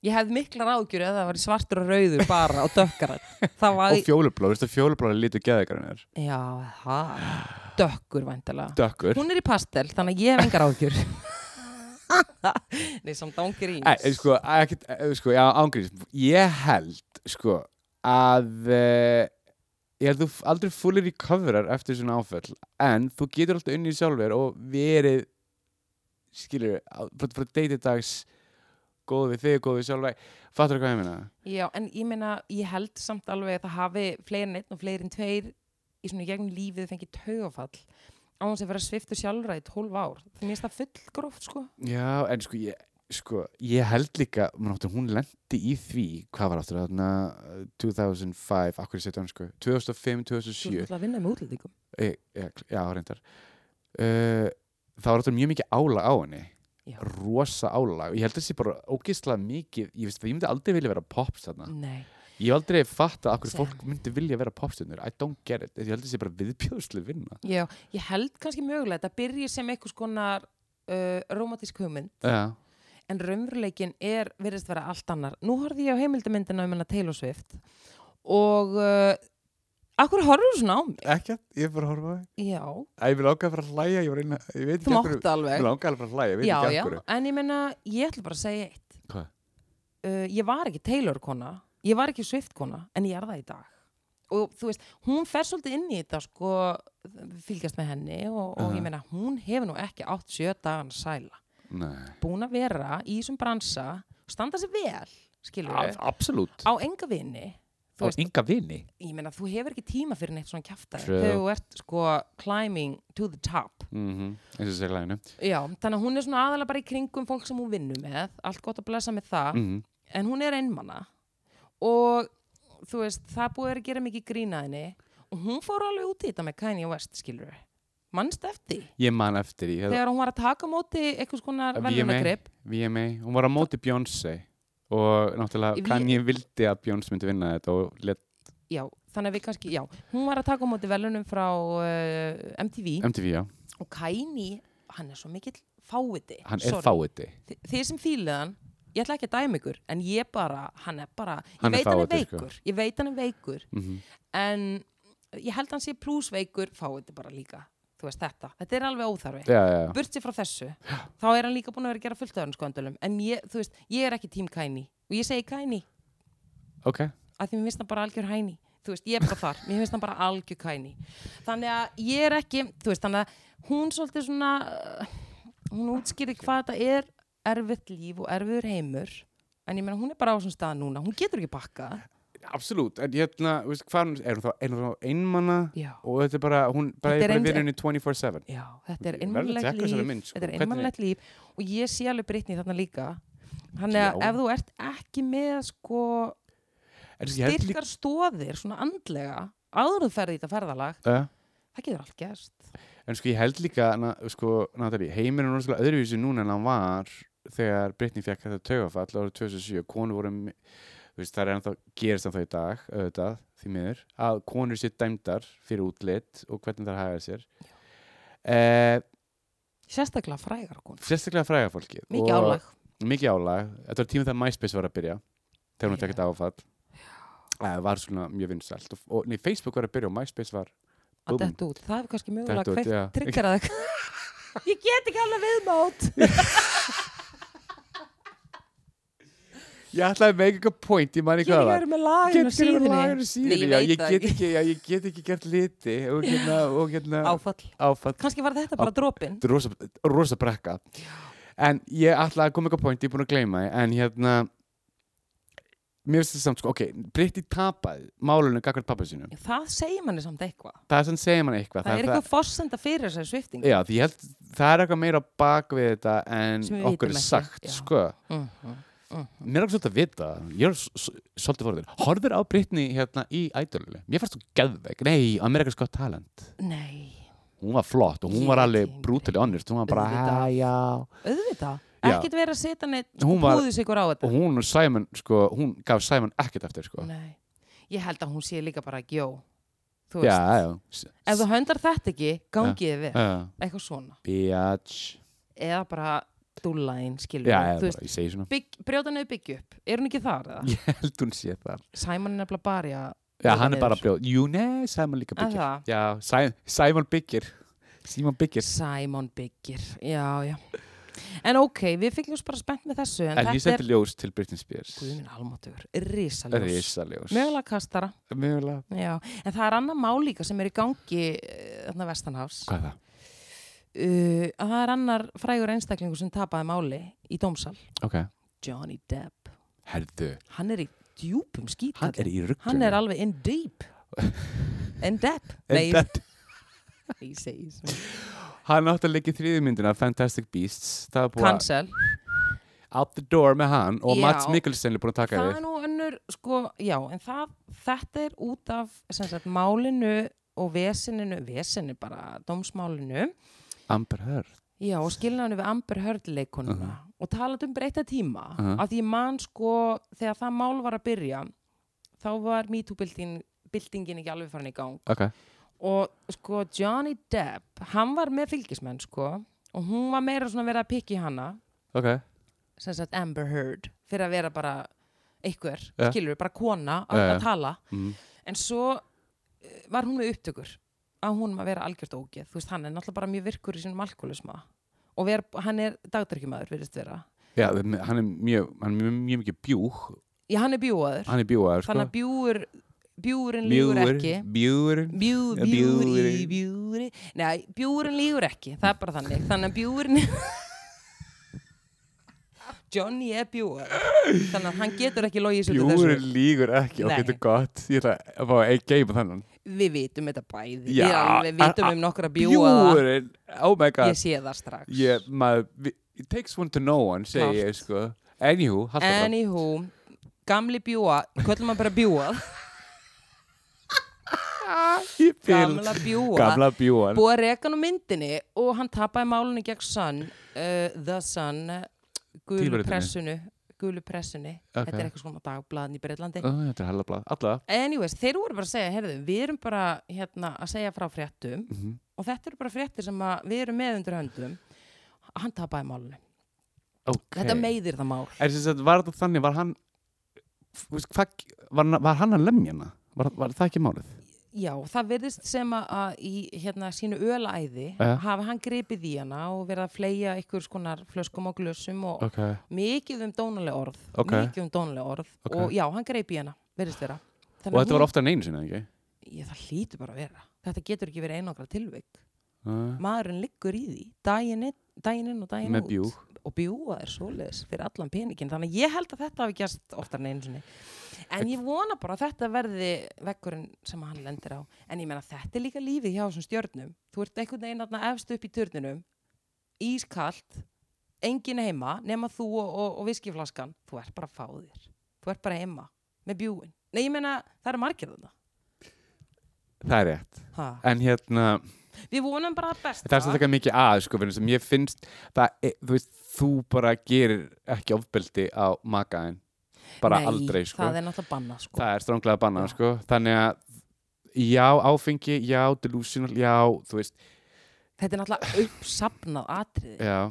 A: Ég hefði miklar ágjur ef það var svartur og rauður bara og dökkarar. Það var,
B: og fjólublá, veistu að fjólublá er litur geðegrannar,
A: já, það, dökkur væntalega.
B: dökkur.
A: Hún er í pastel, þannig að ég hef engar ágjur. Nei, samt ángir
B: Nei, en sko, ekkit, eh, sko, já, ángriðs, ég held, sko, að eh, ég held þú f- aldrei fullir í coverar eftir svona áföll, en þú getur alltaf unnið sjálfur og verið, skilur, frá, frá date dags, góð við þig, góð við sjálfur, fattur hvað ég meina?
A: Já, en ég meina, ég held samt alveg að það hafi fleiri en einn og fleiri en tveir í svona í gegnum lífið fengið taugafall á hans að vera sviftu sjálfra í 12 ár. Það mér finnst það fullgróft, sko.
B: Já, en sko, ég, sko, ég held líka, mann áttur, hún lendi í því, hvað var áttur, þarna, eh, 2005, akkur ég setja hann, sko, 2005,
A: Þú ert
B: 2007,
A: alltaf að vinna með útlendingum.
B: e, e, já, reyndar uh, það var alltaf mjög mikið álag á henni
A: Já.
B: rosa álag, ég held að þessi bara ógeðslega mikið, ég veist það, ég myndi aldrei vilja vera popstjarna,
A: Nei.
B: ég hef aldrei fatt að okkur
A: Sem.
B: fólk myndi vilja vera popstjarnir I don't get it, ég held að þessi bara viðbjóðslu vinna
A: Já, ég held kannski mögulega að þetta byrji sem einhvers konar uh, romantísk hugmynd,
B: já,
A: en raunveruleikin er, virðist vera allt annar. Nú horfði ég á heimildamyndina um hennar Taylor Swift og uh, akkur horfður svona á mig?
B: ekki, ég er bara að horfa á
A: Já,
B: það ég vil ákveða bara að hlæja, ég, reyna, ég veit
A: þú mátt alveg.
B: ákveða bara að hlæja,
A: já, já, en ég meina, ég ætla bara að segja eitt
B: Hvað?
A: uh, ég var ekki Taylor kona ég var ekki Swift kona, en ég er það í dag og þú veist, hún fer svolítið inn í þetta sko, fylgjast með henni og, og
B: Aha.
A: ég meina, hún hefur nú ekki átt sjö dagan sæla,
B: Nei,
A: búin að vera í þessum bransa, standa sér vel skilur
B: Af, absolutt
A: á enga vini þú
B: og
A: veist,
B: ynga vini
A: ég meina, þú hefur ekki tíma fyrir neitt svona kjaftar
B: True.
A: þegar þú ert sko climbing to the top
B: mm -hmm. eins og segja læginu
A: Já, þannig að hún er svona aðalega bara í kringum fólk sem hún vinnur með, allt gott að blessa með það,
B: mm
A: en hún er einmana og þú veist, það búið er að gera mikið grín að henni og hún fór alveg út í þetta með Kanye West, skilur við. Manst eftir því,
B: ég man eftir því, ég-
A: þegar hún var að taka á móti einhvers konar
B: VMA.
A: verðunagreip.
B: VMA, hún var á móti Beyoncé og náttúrulega
A: Í-
B: Kanye vildi að Beyoncé myndi vinna þetta og let
A: Já, þannig að við kannski, já, hún var að taka á móti velunum frá uh, MTV
B: MTV, já,
A: og Kanye, hann er svo mikill fáviti.
B: hann
A: Sorry.
B: er fáiði
A: Þi- þið sem fílið hann ég ætla ekki að dæma ykkur, en ég bara hann er bara, ég
B: Hann er
A: veit hann er
B: fáviti, sko.
A: veikur ég veit hann er veikur,
B: mm
A: en ég held hann sé plusveikur, fáið þetta bara líka þú veist þetta, þetta er alveg óþarfi
B: Já, já, já.
A: burt sér frá þessu, þá er hann líka búin að vera að gera fullt af hann skoðandölum, en ég, þú veist ég er ekki tím kæni, og ég segi kæni
B: ok
A: að því mér finnst hann bara algjör hæni þú veist, ég er bara þar, mér finnst hann bara algjör hæni þannig að ég er ekki þú veist, þannig að hún svolítið svona uh, hún útskýri hvað þetta er erfitt líf og erfiður heimur en ég meina hún er bara á svona stað núna hún getur ekki bakka
B: Absolutt, en hérna, veist, hvað hún- er hún þá, er hún þá einmana
A: já,
B: og þetta er bara, hún bara
A: Þetta
B: er
A: er
B: bara
A: eins-
B: vinnunni 24-7
A: já þetta er
B: Ég verð að
A: einmannlegt
B: tekka þessari
A: líf
B: mynd, sko.
A: þetta er
B: Hvernig-
A: einmannlegt líf og ég sé alveg brittni þarna líka þannig að
B: Já.
A: ef þú ert ekki með sko
B: En ég held líka
A: styrkar stóðir svona andlega áður en þú ferði í þetta ferðalag
B: uh,
A: það getur allt gerst
B: En sko, ég held líka, na, sko, Natalie heimurinn er rosalega öðruvísi núna en hann var þegar Britney fekk þetta taugafall árið 2007, konur voru mi- þú veist, það er ennþá, gerist ennþá í dag auðvitað, því miður, að konur sér dæmdar fyrir útlit og hvernig það hægða sér eh,
A: sérstaklega frægar hún
B: sérstaklega fræga fólkið
A: mikið
B: og-
A: álag
B: mikið álag, þetta var tíma þegar MySpace var að byrja þegar hún
A: Já.
B: tekið áfall það var svona mjög vinsælt og, og nei, Facebook var að byrja og MySpace var
A: að
B: Búmm.
A: detta út, það er kannski
B: Detta
A: mögulega
B: út,
A: kveikt
B: já.
A: tryggarað eitthvað ég get ekki alveg viðmátt
B: ég ætlaði að make a point, ég man
A: ég
B: ekki
A: er ekki
B: hvað það var
A: verið með laginu
B: Get ekki verið með lagar á
A: Nei,
B: síðunni,
A: ég
B: já,
A: veit
B: ég
A: það
B: get ekki, já, ég get ekki gert liti og hérna, og hérna
A: áfall,
B: áfall
A: kannski var þetta bara dropin
B: Þetta er rosa, rosa brekka en ég ætla að koma eitthvað point, ég er búin að gleyma því en hérna mér finnst þetta samt sko, ok, Britti tapaði málunum gagvart pappa sínum
A: það segir manni samt eitthvað
B: það er sem segir mann eitthvað
A: það, er eitthvað fossenda fyrir þessari svifting
B: já, því ég held, það er eitthvað meira á bak við þetta en
A: Sem við vitum
B: okkur er
A: ekki,
B: sagt
A: já.
B: sko.
A: mm
B: mér er ekki svolítið að vita það. ég er s- s- svolítið forður horfir á Brittany hérna í ædolunni mér fannst þú geðveik, nei, Amerikas Got Talent
A: nei,
B: hún var flott og hún
A: Ég
B: var
A: veit
B: alveg
A: ekki.
B: brutally honest hún var bara,
A: Auðvitað.
B: "Hæ, já
A: auðvitað
B: Já.
A: ekkert verið að setja neitt
B: Hún
A: sko,
B: var-
A: púðis ykkur á þetta
B: og hún og Simon, sko, hún gaf Simon ekkert eftir, sko
A: nei, ég held að hún sé líka bara gjó, þú veist
B: já, já, S-
A: ef þú höndar þetta ekki, gangiði við
B: já,
A: eitthvað svona,
B: bitch
A: eða bara dúllaðin, skilur
B: já,
A: við,
B: já,
A: þú veist
B: bara, ég segi svona
A: bygg, brjóta niður byggja upp, er hún ekki þar eða?
B: ég held hún sé það
A: Simon er nefnilega barja
B: Já,
A: Brjóta
B: hann er bara
A: niður.
B: brjóð. Jú, nei, Simon líka
A: að
B: byggir.
A: það,
B: Já, Sæ- Simon byggir. Simon byggir.
A: Simon byggir já, já en ok, við fylgjum bara spennt með þessu en,
B: En ég
A: þetta
B: sendi
A: er,
B: ljós til Britney Spears.
A: guðminn almatur risaljós,
B: Rísaljós.
A: mögulega kastara
B: Mögulega.
A: já, en það er annað mál líka sem er í gangi eh, þarna vestanhafs uh,
B: Hvað er það?
A: að það er annar frægur einstaklingur sem tapaði máli í dómsal,
B: Ok.
A: Johnny Depp
B: Herðu,
A: hann er í djúpum skít
B: hann er í rugglu.
A: hann er alveg in deep in deep, nei,
B: En þetta,
A: ég segi svona.
B: hann átti að leggja þriði myndina Fantastic Beasts, það er búið að
A: cancel
B: out the door með hann og
A: Já.
B: Mats Mikkelsen er búin að taka
A: það er
B: yfir
A: nú önnur, sko, já, en það, þetta er út af sem sagt, málinu og vesininu, vesinu bara, dómsmálinu,
B: Amber Heard
A: já, og skilnaðinu við Amber Heard leikonuna og talað um breyta tíma,
B: Mhm.
A: að ég man, sko, þegar það mál var að byrja, þá var MeToo-byltingin ekki alveg farin í gang
B: ok,
A: og, sko, Johnny Depp, hann var með fylgismenn, sko, og hún var meira svona verið að pikki hana,
B: ok,
A: sem sagt Amber Heard, fyrir að vera bara einhver,
B: Ja.
A: skilur, bara kona að,
B: Ja, ja.
A: að tala
B: mm.
A: en svo eh, var hún með upptökur að hún var að vera algjört ógeð þú veist, hann er náttúrulega bara mjög virkur í sínum alkoholisma og ver, hann er dagdrykjumæður virðist vera,
B: já, hann er mjög hann er mjög, mjög mikið bjúg
A: já hann er bjúaður
B: hann er bjúaður, sko
A: þannig að bjúur bjúurinn lígur ekki
B: bjúurinn
A: bjú,
B: Ja,
A: bjúri,
B: bjúgurinn.
A: bjúri nei, bjúurinn lígur ekki, það er bara þannig þannig að bjúurinn Johnny er bjúaður þannig að hann getur ekki logið sér til þessu
B: Bjúrin lígur ekki, ok,
A: Nei.
B: þetta er gott Ég ætla að fá að geima þannan
A: við vitum þetta bæði
B: Já,
A: við alveg vitum
B: a- a-
A: um nokkra bjúaða
B: Bjúrin, oh my
A: ég
B: god
A: sé það strax
B: Ég, maður, vi- It takes one to know one, segi
A: Klárt.
B: ég, sko Anywho, halda það
A: Anywho, gamli bjúa Kvöldum hann bara bjúa
B: Ah, Ég fíl
A: Gamla bjúa
B: Gamla bjúan
A: Búið að reka hann á myndinni Og hann tapaði málunni gegn Sun uh, The Sun Gulu
B: Tímaritinu.
A: pressunu Gulu pressunni
B: Ok.
A: Þetta er eitthvað svona dagblaðan í Breitlandi
B: Oh, Þetta er hella blað, alla
A: Anyways, þeir voru bara að segja Heyrðu, við erum bara hérna, að segja frá fréttum
B: Mhm.
A: Og þetta eru bara fréttir sem að við erum með undir höndum Hann tapaði málunni
B: okay.
A: Þetta meiðir það mál
B: Er þess að var þetta þannig, var hann f- veist, hvað, var, hann- var hann að lemja hana? Var, var það ekki málið?
A: Já, það virðist sem að- að í hérna, sínu ölaæði
B: Ja.
A: hafi hann gripið í hana og verið að fleia ykkur skonar flöskum og glössum og
B: Ok,
A: mikið um dónuleg orð,
B: Ok.
A: mikið um dónuleg orð
B: Ok.
A: og já, hann greip í hana, virðist vera.
B: og þetta var ofta en einu sinni, ekki?
A: Ég, það hlýtur bara að vera. Þetta getur ekki verið einangra tilvik.
B: Uh,
A: Maðurinn liggur í því, daginn inn, daginn inn og daginn
B: með
A: út.
B: bjúg
A: Og bjúa er svoleiðis fyrir allan peningin. Þannig að ég held að þetta hafi gæst oftar en einu sinni. En ég vona bara að þetta verði vekkurinn sem hann lendir á. En ég meina þetta er líka lífið hjá þessum stjörnum. Þú ert einhvern veginn þarna efst upp í turninum, ískalt, enginn heima, nema þú og, og, og viskiflaskan. Þú ert bara fáðir. Þú ert bara heima með bjúin. Nei, ég meina það eru margir þarna.
B: Það er rétt
A: Ha.
B: En hérna,
A: Við vonum bara að besta.
B: það er sem taka mikið að sko, fyrir sem ég finnst það, er- þú veist, þú bara gerir ekki ofbeldi á makaðin bara
A: Nei,
B: aldrei, sko
A: það er náttúrulega banna, sko.
B: það er stránglega bannað,
A: Já.
B: sko þannig að, já, áfengi já, delusional, já, þú veist
A: Þetta er náttúrulega uppsapnað atriði.
B: já,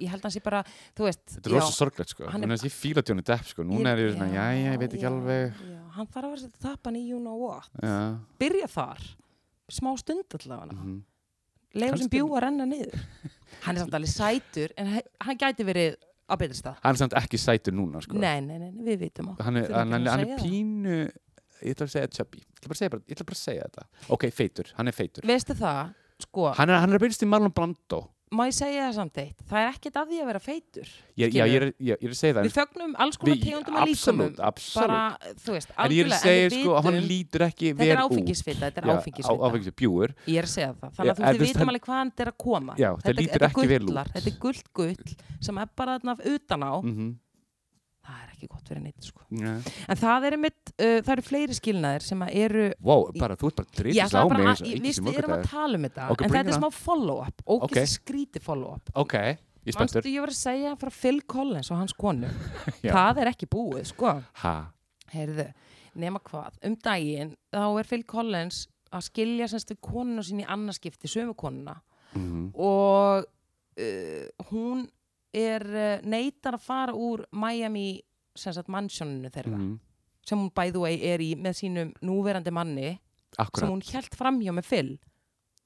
A: Ég held að hans ég bara, þú veist,
B: Eh. þetta er rosa sorglegt, sko
A: hann er-
B: þannig að ég fíla tjónu depp, sko, núna er ég svona já, já, ég veit ekki
A: já,
B: alveg Eh.
A: já, hann þarf að vera sér tappan í you know what
B: já,
A: byrja þar, smá stund allavega mm.
B: mhm.
A: leiður
B: Kannski-
A: sem bjú að renna niður hann er samt alveg sætur en he- hann gæti verið á betri stað
B: hann er samt ekki sætur núna, sko
A: nei, nei, nei, nei, við vitum á
B: hann er,
A: Þurfum
B: hann,
A: ekki
B: hann,
A: að
B: hann
A: segja
B: er
A: það.
B: pínu ég ætla að segja chubby, ég ætla bara að segja, bara, ég ætla bara að segja þetta ok, feitur, hann er feitur
A: veistu það, sko,
B: hann er, hann er byrjast í Marlon Brando
A: má ég segja það samt eitt það er ekkert að því að vera feitur
B: ég, já, ég, er, ég, ég er að segja það
A: við þögnum alls konar tegundum að líkumum
B: absolutt, absolutt
A: bara, þú veist,
B: en ég er
A: algjörlega
B: að segja
A: en við
B: sko að hann
A: vitum-
B: lítur ekki
A: þetta
B: vel
A: er
B: út
A: áfengisfita, þetta er áfengisfita
B: áfengisvita bjúur
A: ég er að segja það,
B: Já,
A: þannig að þú
B: en
A: veist, við
B: þú veist,
A: vitum
B: hann-
A: alveg hvaðan þetta er að koma
B: Já, það lítur
A: þetta
B: ekki vel út.
A: gullar, þetta er gullt gull sem er bara þarna utan á
B: mm -hmm.
A: það er ekki gott fyrir neitt sko
B: yeah.
A: en það er einmitt, uh, það eru fleiri skilnaðir sem að eru
B: wow, bara þú ert bara drittis á
A: ætlaði
B: mig
A: bara að-
B: eins og
A: ég
B: enginn
A: víst,
B: sem
A: við erum að
B: morgundagur.
A: tala um þetta
B: Ok,
A: en
B: bring
A: þetta
B: it
A: er
B: on.
A: smá follow-up, ógæst
B: Ok.
A: okay. skríti follow-up
B: ok, ég er
A: Manstu
B: spenntur
A: ég var að segja frá Phil Collins og hans konu
B: Já.
A: það er ekki búið, sko
B: ha,
A: heyrðu, nema hvað, um daginn þá er Phil Collins að skilja semst við konuna sín í annarskipti sömu konuna
B: mm
A: og uh, hún er uh, neitar að fara úr Miami sem sagt mansjóninu þeirra
B: -hmm.
A: sem hún by the way er í með sínum núverandi manni sem
B: akkurat
A: hún hjælt framhjá með Phil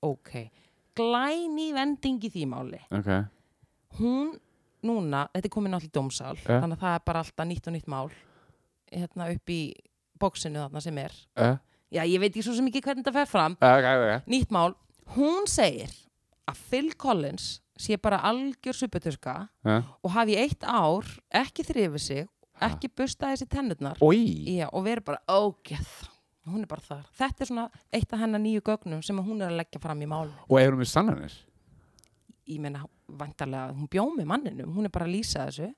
A: ok, glæni vending í því máli
B: ok,
A: hún núna, þetta er komin allir dómsál
B: Ja.
A: þannig að það er bara alltaf nýtt og nýtt mál hérna upp í bóksinu þarna sem er
B: uh,
A: já, ég veit ekki svo sem ekki hvernig þetta fer fram
B: ok, Eh, ok
A: nýtt mál, hún segir að Phil Collins sé bara algjör suppetuska
B: uh.
A: og hafi í eitt ár ekki þrifið sig, ekki bustaði sér tennurnar
B: oi,
A: Já, og verið bara ógeð hún er bara þar, þetta er svona eitt af hennar nýju gögnum sem að hún er að leggja fram í mál
B: og erum við sannanir
A: ég meina, vantarlega, hún bjó með manninum hún er bara að lýsa þessu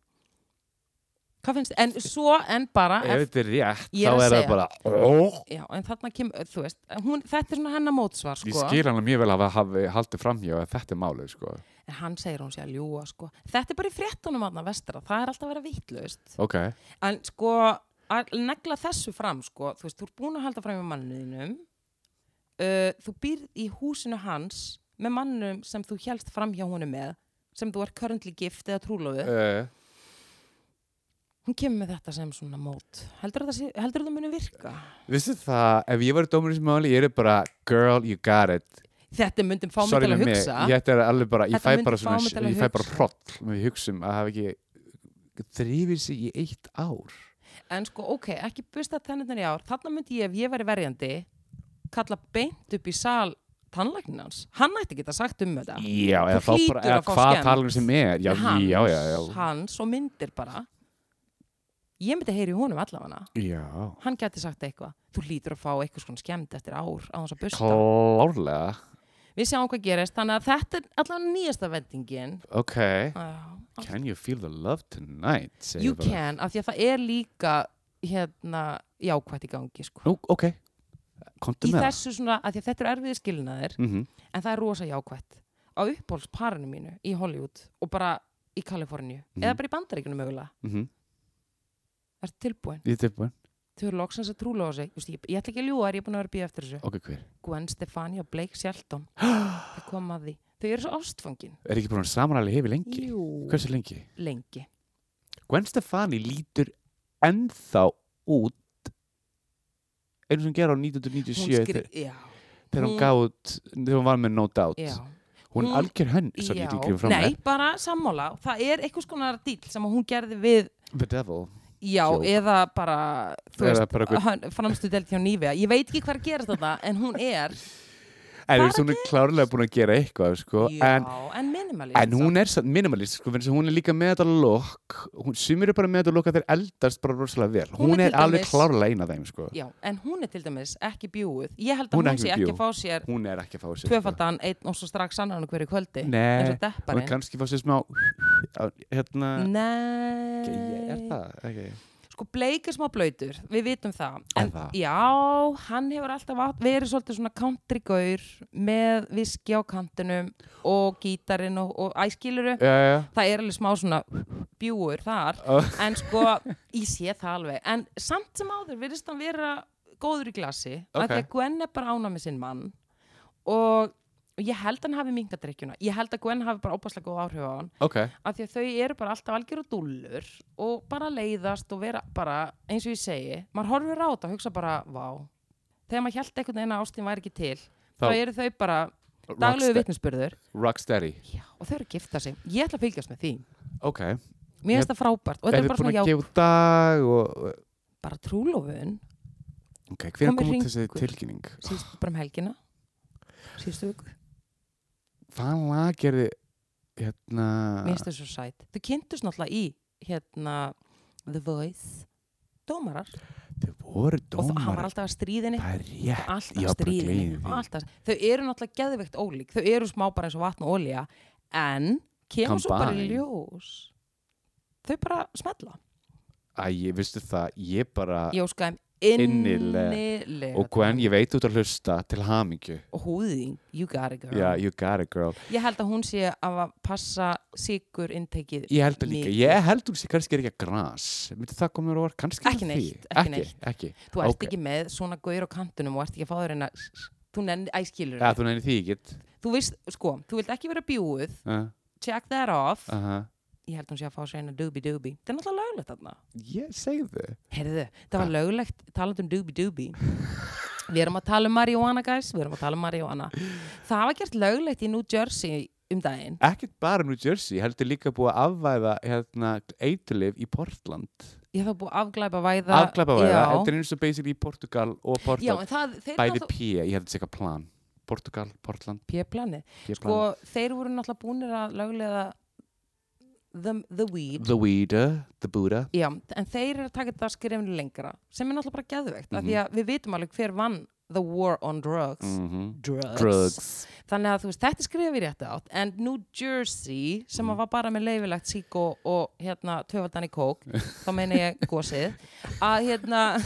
A: hvað finnst, en svo, en bara
B: ef þetta er rétt,
A: Ég Ah, er að
B: þá er það
A: segja.
B: bara oh,
A: já, en þarna kemur, þú veist hún, þetta er svona hennar mótsvar,
B: ég
A: sko
B: skil hann mjög vel að hafa- hafi haldið framhjá að þetta er málið, sko
A: en hann segir hún sé að ljúa, sko þetta er bara í fréttunum aðna vestra, það er alltaf að vera vitlaust
B: ok,
A: en sko, að negla þessu fram, sko þú veist, þú ert búin að halda fram í manninum uh, þú býrð í húsinu hans með mannum sem þú hélst fram hjá honum með sem þú er currently gift eða trúlóðu
B: uh,
A: hún kemur með þetta sem svona mót heldur það, heldur það muni virka
B: vissi það, ef ég var dómur í þessu máli, ég er bara girl, you got it
A: þetta myndum fá mig
B: Sorry
A: til að
B: með
A: hugsa
B: mig, þetta er alveg bara, ég
A: Þetta
B: fæ
A: myndi
B: bara
A: fá mig til
B: svona,
A: að
B: ég fæ bara
A: hugsa.
B: hroll með hugsun að hafa ekki þrýfið sig í eitt ár
A: en sko ok, ekki busta tennirnar í ár þarna myndi ég ef ég væri verjandi kalla beint upp í sal tannlækninans, hann ætti ekki að sagt um þetta
B: Já, eða þá
A: hlýtur
B: bara,
A: að
B: eða
A: fá
B: hvað
A: skemmt.
B: talum sem er Já,
A: hans,
B: já, já, já,
A: hans og myndir bara ég myndi heyri í honum allavega
B: já.
A: hann geti sagt eitthvað, þú hlýtur að fá eitthvað svona skemmt eftir ár á þess að busta
B: Klárlega,
A: við sjáum hvað gerist, þannig að þetta er allavega nýjasta vendingin
B: ok
A: uh,
B: Can you feel the love tonight? segir
A: you
B: ég bara.
A: can, af því að það er líka hérna jákvætt í gangi sko.
B: Nú, ok, komdu
A: í
B: með
A: þessu svona, af því að þetta eru erfiði skilnaðir
B: það mm -hmm.
A: en það er rosa jákvætt á uppbólsparinu mínu í Hollywood og bara í Kaliforníu
B: Mhm.
A: eða bara í bandaríkunum mögulega,
B: Mm -hmm.
A: ertu tilbúin
B: Ég er tilbúin,
A: þau eru loksins að trúla á sig, Just, ég, ég ætla ekki að ljúga þér, ég er búin að vera að býja eftir þessu
B: ok, hver
A: Gwen Stefani og Blake Shelton það kom að því, þau eru svo ástfangin
B: Er ekki búin að samanæli hefi lengi?
A: Jú,
B: Hversu lengi?
A: lengi
B: Gwen Stefani lítur ennþá út eins og hún gera á
A: hún
B: 1997
A: skri, já,
B: þegar hún
A: hún-
B: gaf út, þegar hún var með No Doubt
A: já Hún-
B: hún er algjör hönn svo
A: Já,
B: ég ekki fram
A: nei, bara sammála það er einhvers konar dýl sem að hún gerði við
B: með The Devil
A: já,
B: Joke.
A: eða bara, þú
B: Eða
A: veist, uh,
B: bara einhver-
A: hann, framstu delt hjá Nývea ég veit ekki hvað gerist þetta, en hún er
B: en
A: Bara
B: veist, hún er klárlega búin að gera eitthvað sko.
A: já,
B: en,
A: en minimalist
B: en hún er samt minimalist sko, vegna þess að hún er líka með þetta lokk hún sumir eru bara með þetta lokk að þeir eldast bara rosalega vel
A: Hún
B: hún,
A: er
B: er,
A: til
B: alveg
A: dæmis-
B: klárlega eina af þeim sko.
A: já, en hún er til dæmis ekki bjúið ég held að
B: Hún
A: hún,
B: er ekki
A: sé ekki
B: bjúguð.
A: að fá sér
B: hún er ekki að fá sér sko.
A: tvöfaldan einn og svo strax annan á hverju kvöldi eins
B: nei,
A: og
B: hún er
A: depparinn
B: kannski að fá sér smá hérna
A: Nei,
B: er það? Okay.
A: sko Blake er smá blöytur, við vitum það
B: Er
A: en
B: það?
A: já, hann hefur alltaf átt, verið svolítið svona countrygaur með viski á kantinum og gítarinn og, og æskiluru
B: Já, já, já.
A: það er alveg smá svona bjúur þar
B: Ó.
A: en sko, ég sé það alveg en samt sem áður virðist hann vera góður í glasi, af
B: Ok.
A: því að Gwen er bara ána með sinn mann og og ég held hann hafi mingadrykkjuna ég held að Gwen hafi bara óbáslega góð áhrif á hann
B: ok
A: af því að þau eru bara alltaf algjör og dúllur og bara leiðast og vera bara eins og ég segi, maður horfir á þetta og hugsa bara, vá þegar maður held einhvern veginn að ástin væri ekki til þá,
B: Þá-
A: eru þau bara daglegu
B: Rockste-
A: vitnisspörður
B: Rocksteady
A: og þau eru að gifta sig, ég ætla að fylgjast með því
B: ok,
A: mér finnst það frábært og þetta
B: Eruð
A: er
B: þið
A: bara
B: búin
A: svona
B: að
A: já,
B: gefa út dag og,
A: bara trúlofun
B: ok, hver
A: Komið
B: kom út þessi
A: hringur.
B: tilkynning Ah.
A: síðustu bara um helgina síðustu viku
B: hvað lag er þið hérna,
A: Mér finnst þau svo sæt. Þau kynntust náttúrulega í hérna The Voice dómarar
B: þau voru
A: og þó- hann var
B: dómar
A: alltaf að stríðinni
B: það er rétt,
A: alltaf
B: ég
A: að
B: var bara að
A: stríðinni
B: gleyma því.
A: alltaf, þau eru náttúrulega geðveikt ólík þau eru smá bara eins og vatn og olja en kemur svo bara í
B: Combine.
A: ljós þau bara smetla
B: Æ, ég vistu það, ég bara
A: ég óska þeim
B: Ah. Innilega.
A: innilega
B: og Gwen, ég veit út að hlusta til hamingju
A: og húðing, you got it girl
B: yeah, you got it girl
A: ég held að hún sé af að passa sigur inntekið
B: ég held að líka,
A: Mikið.
B: ég held hún sé kannski er ekki að gras myndi það koma mér á orð, kannski
A: Ekki
B: með
A: neitt, ekki
B: því. ekki,
A: neitt.
B: ekki.
A: þú ert
B: ok.
A: ekki með svona gaur á kantunum og ert ekki að fá þér en að þú nenni æskilur
B: Eða, þú nefnir því ekki
A: þú veist, sko, þú vilt ekki vera bjúið
B: uh,
A: check that off
B: uh -huh.
A: ég held hún sé að fá sér eina dubi-dubi það er náttúrulega löglegt þarna
B: ég segi þau
A: Heyrðu, það
B: Ah.
A: var löglegt talað um dubi-dubi Við erum að tala um marihuana, guys Við erum að tala um marihuana Það var gert löglegt í New Jersey um daginn
B: ekkert bara New Jersey, heldur líka búið að afvæða hérna, eitulif í Portland
A: Ég hef þá búið að afglæpa væða
B: afklappa væða, þetta
A: já.
B: er eins og basically í Portugal og
A: já,
B: Portland,
A: en það, þeir
B: bæði
A: náttúrulega
B: P ég hefði segja plan, Portugal, Portland
A: P-plani
B: P
A: Sko,
B: plan.
A: þeir voru náttúrulega búinir að löglega the, the weed
B: the Weeder, the Buddha
A: Já, en þeir eru að taka þetta skrifinu lengra sem er náttúrulega bara geðveikt af því að við vitum alveg hver vann the war on drugs
B: mm
A: Drugs.
B: drugs,
A: Þannig að þú veist, þetta skrifa við rétt átt en New Jersey, sem að var bara með leifilegt sík og, og hérna töfaldan í kók, þá meina ég gósið að hérna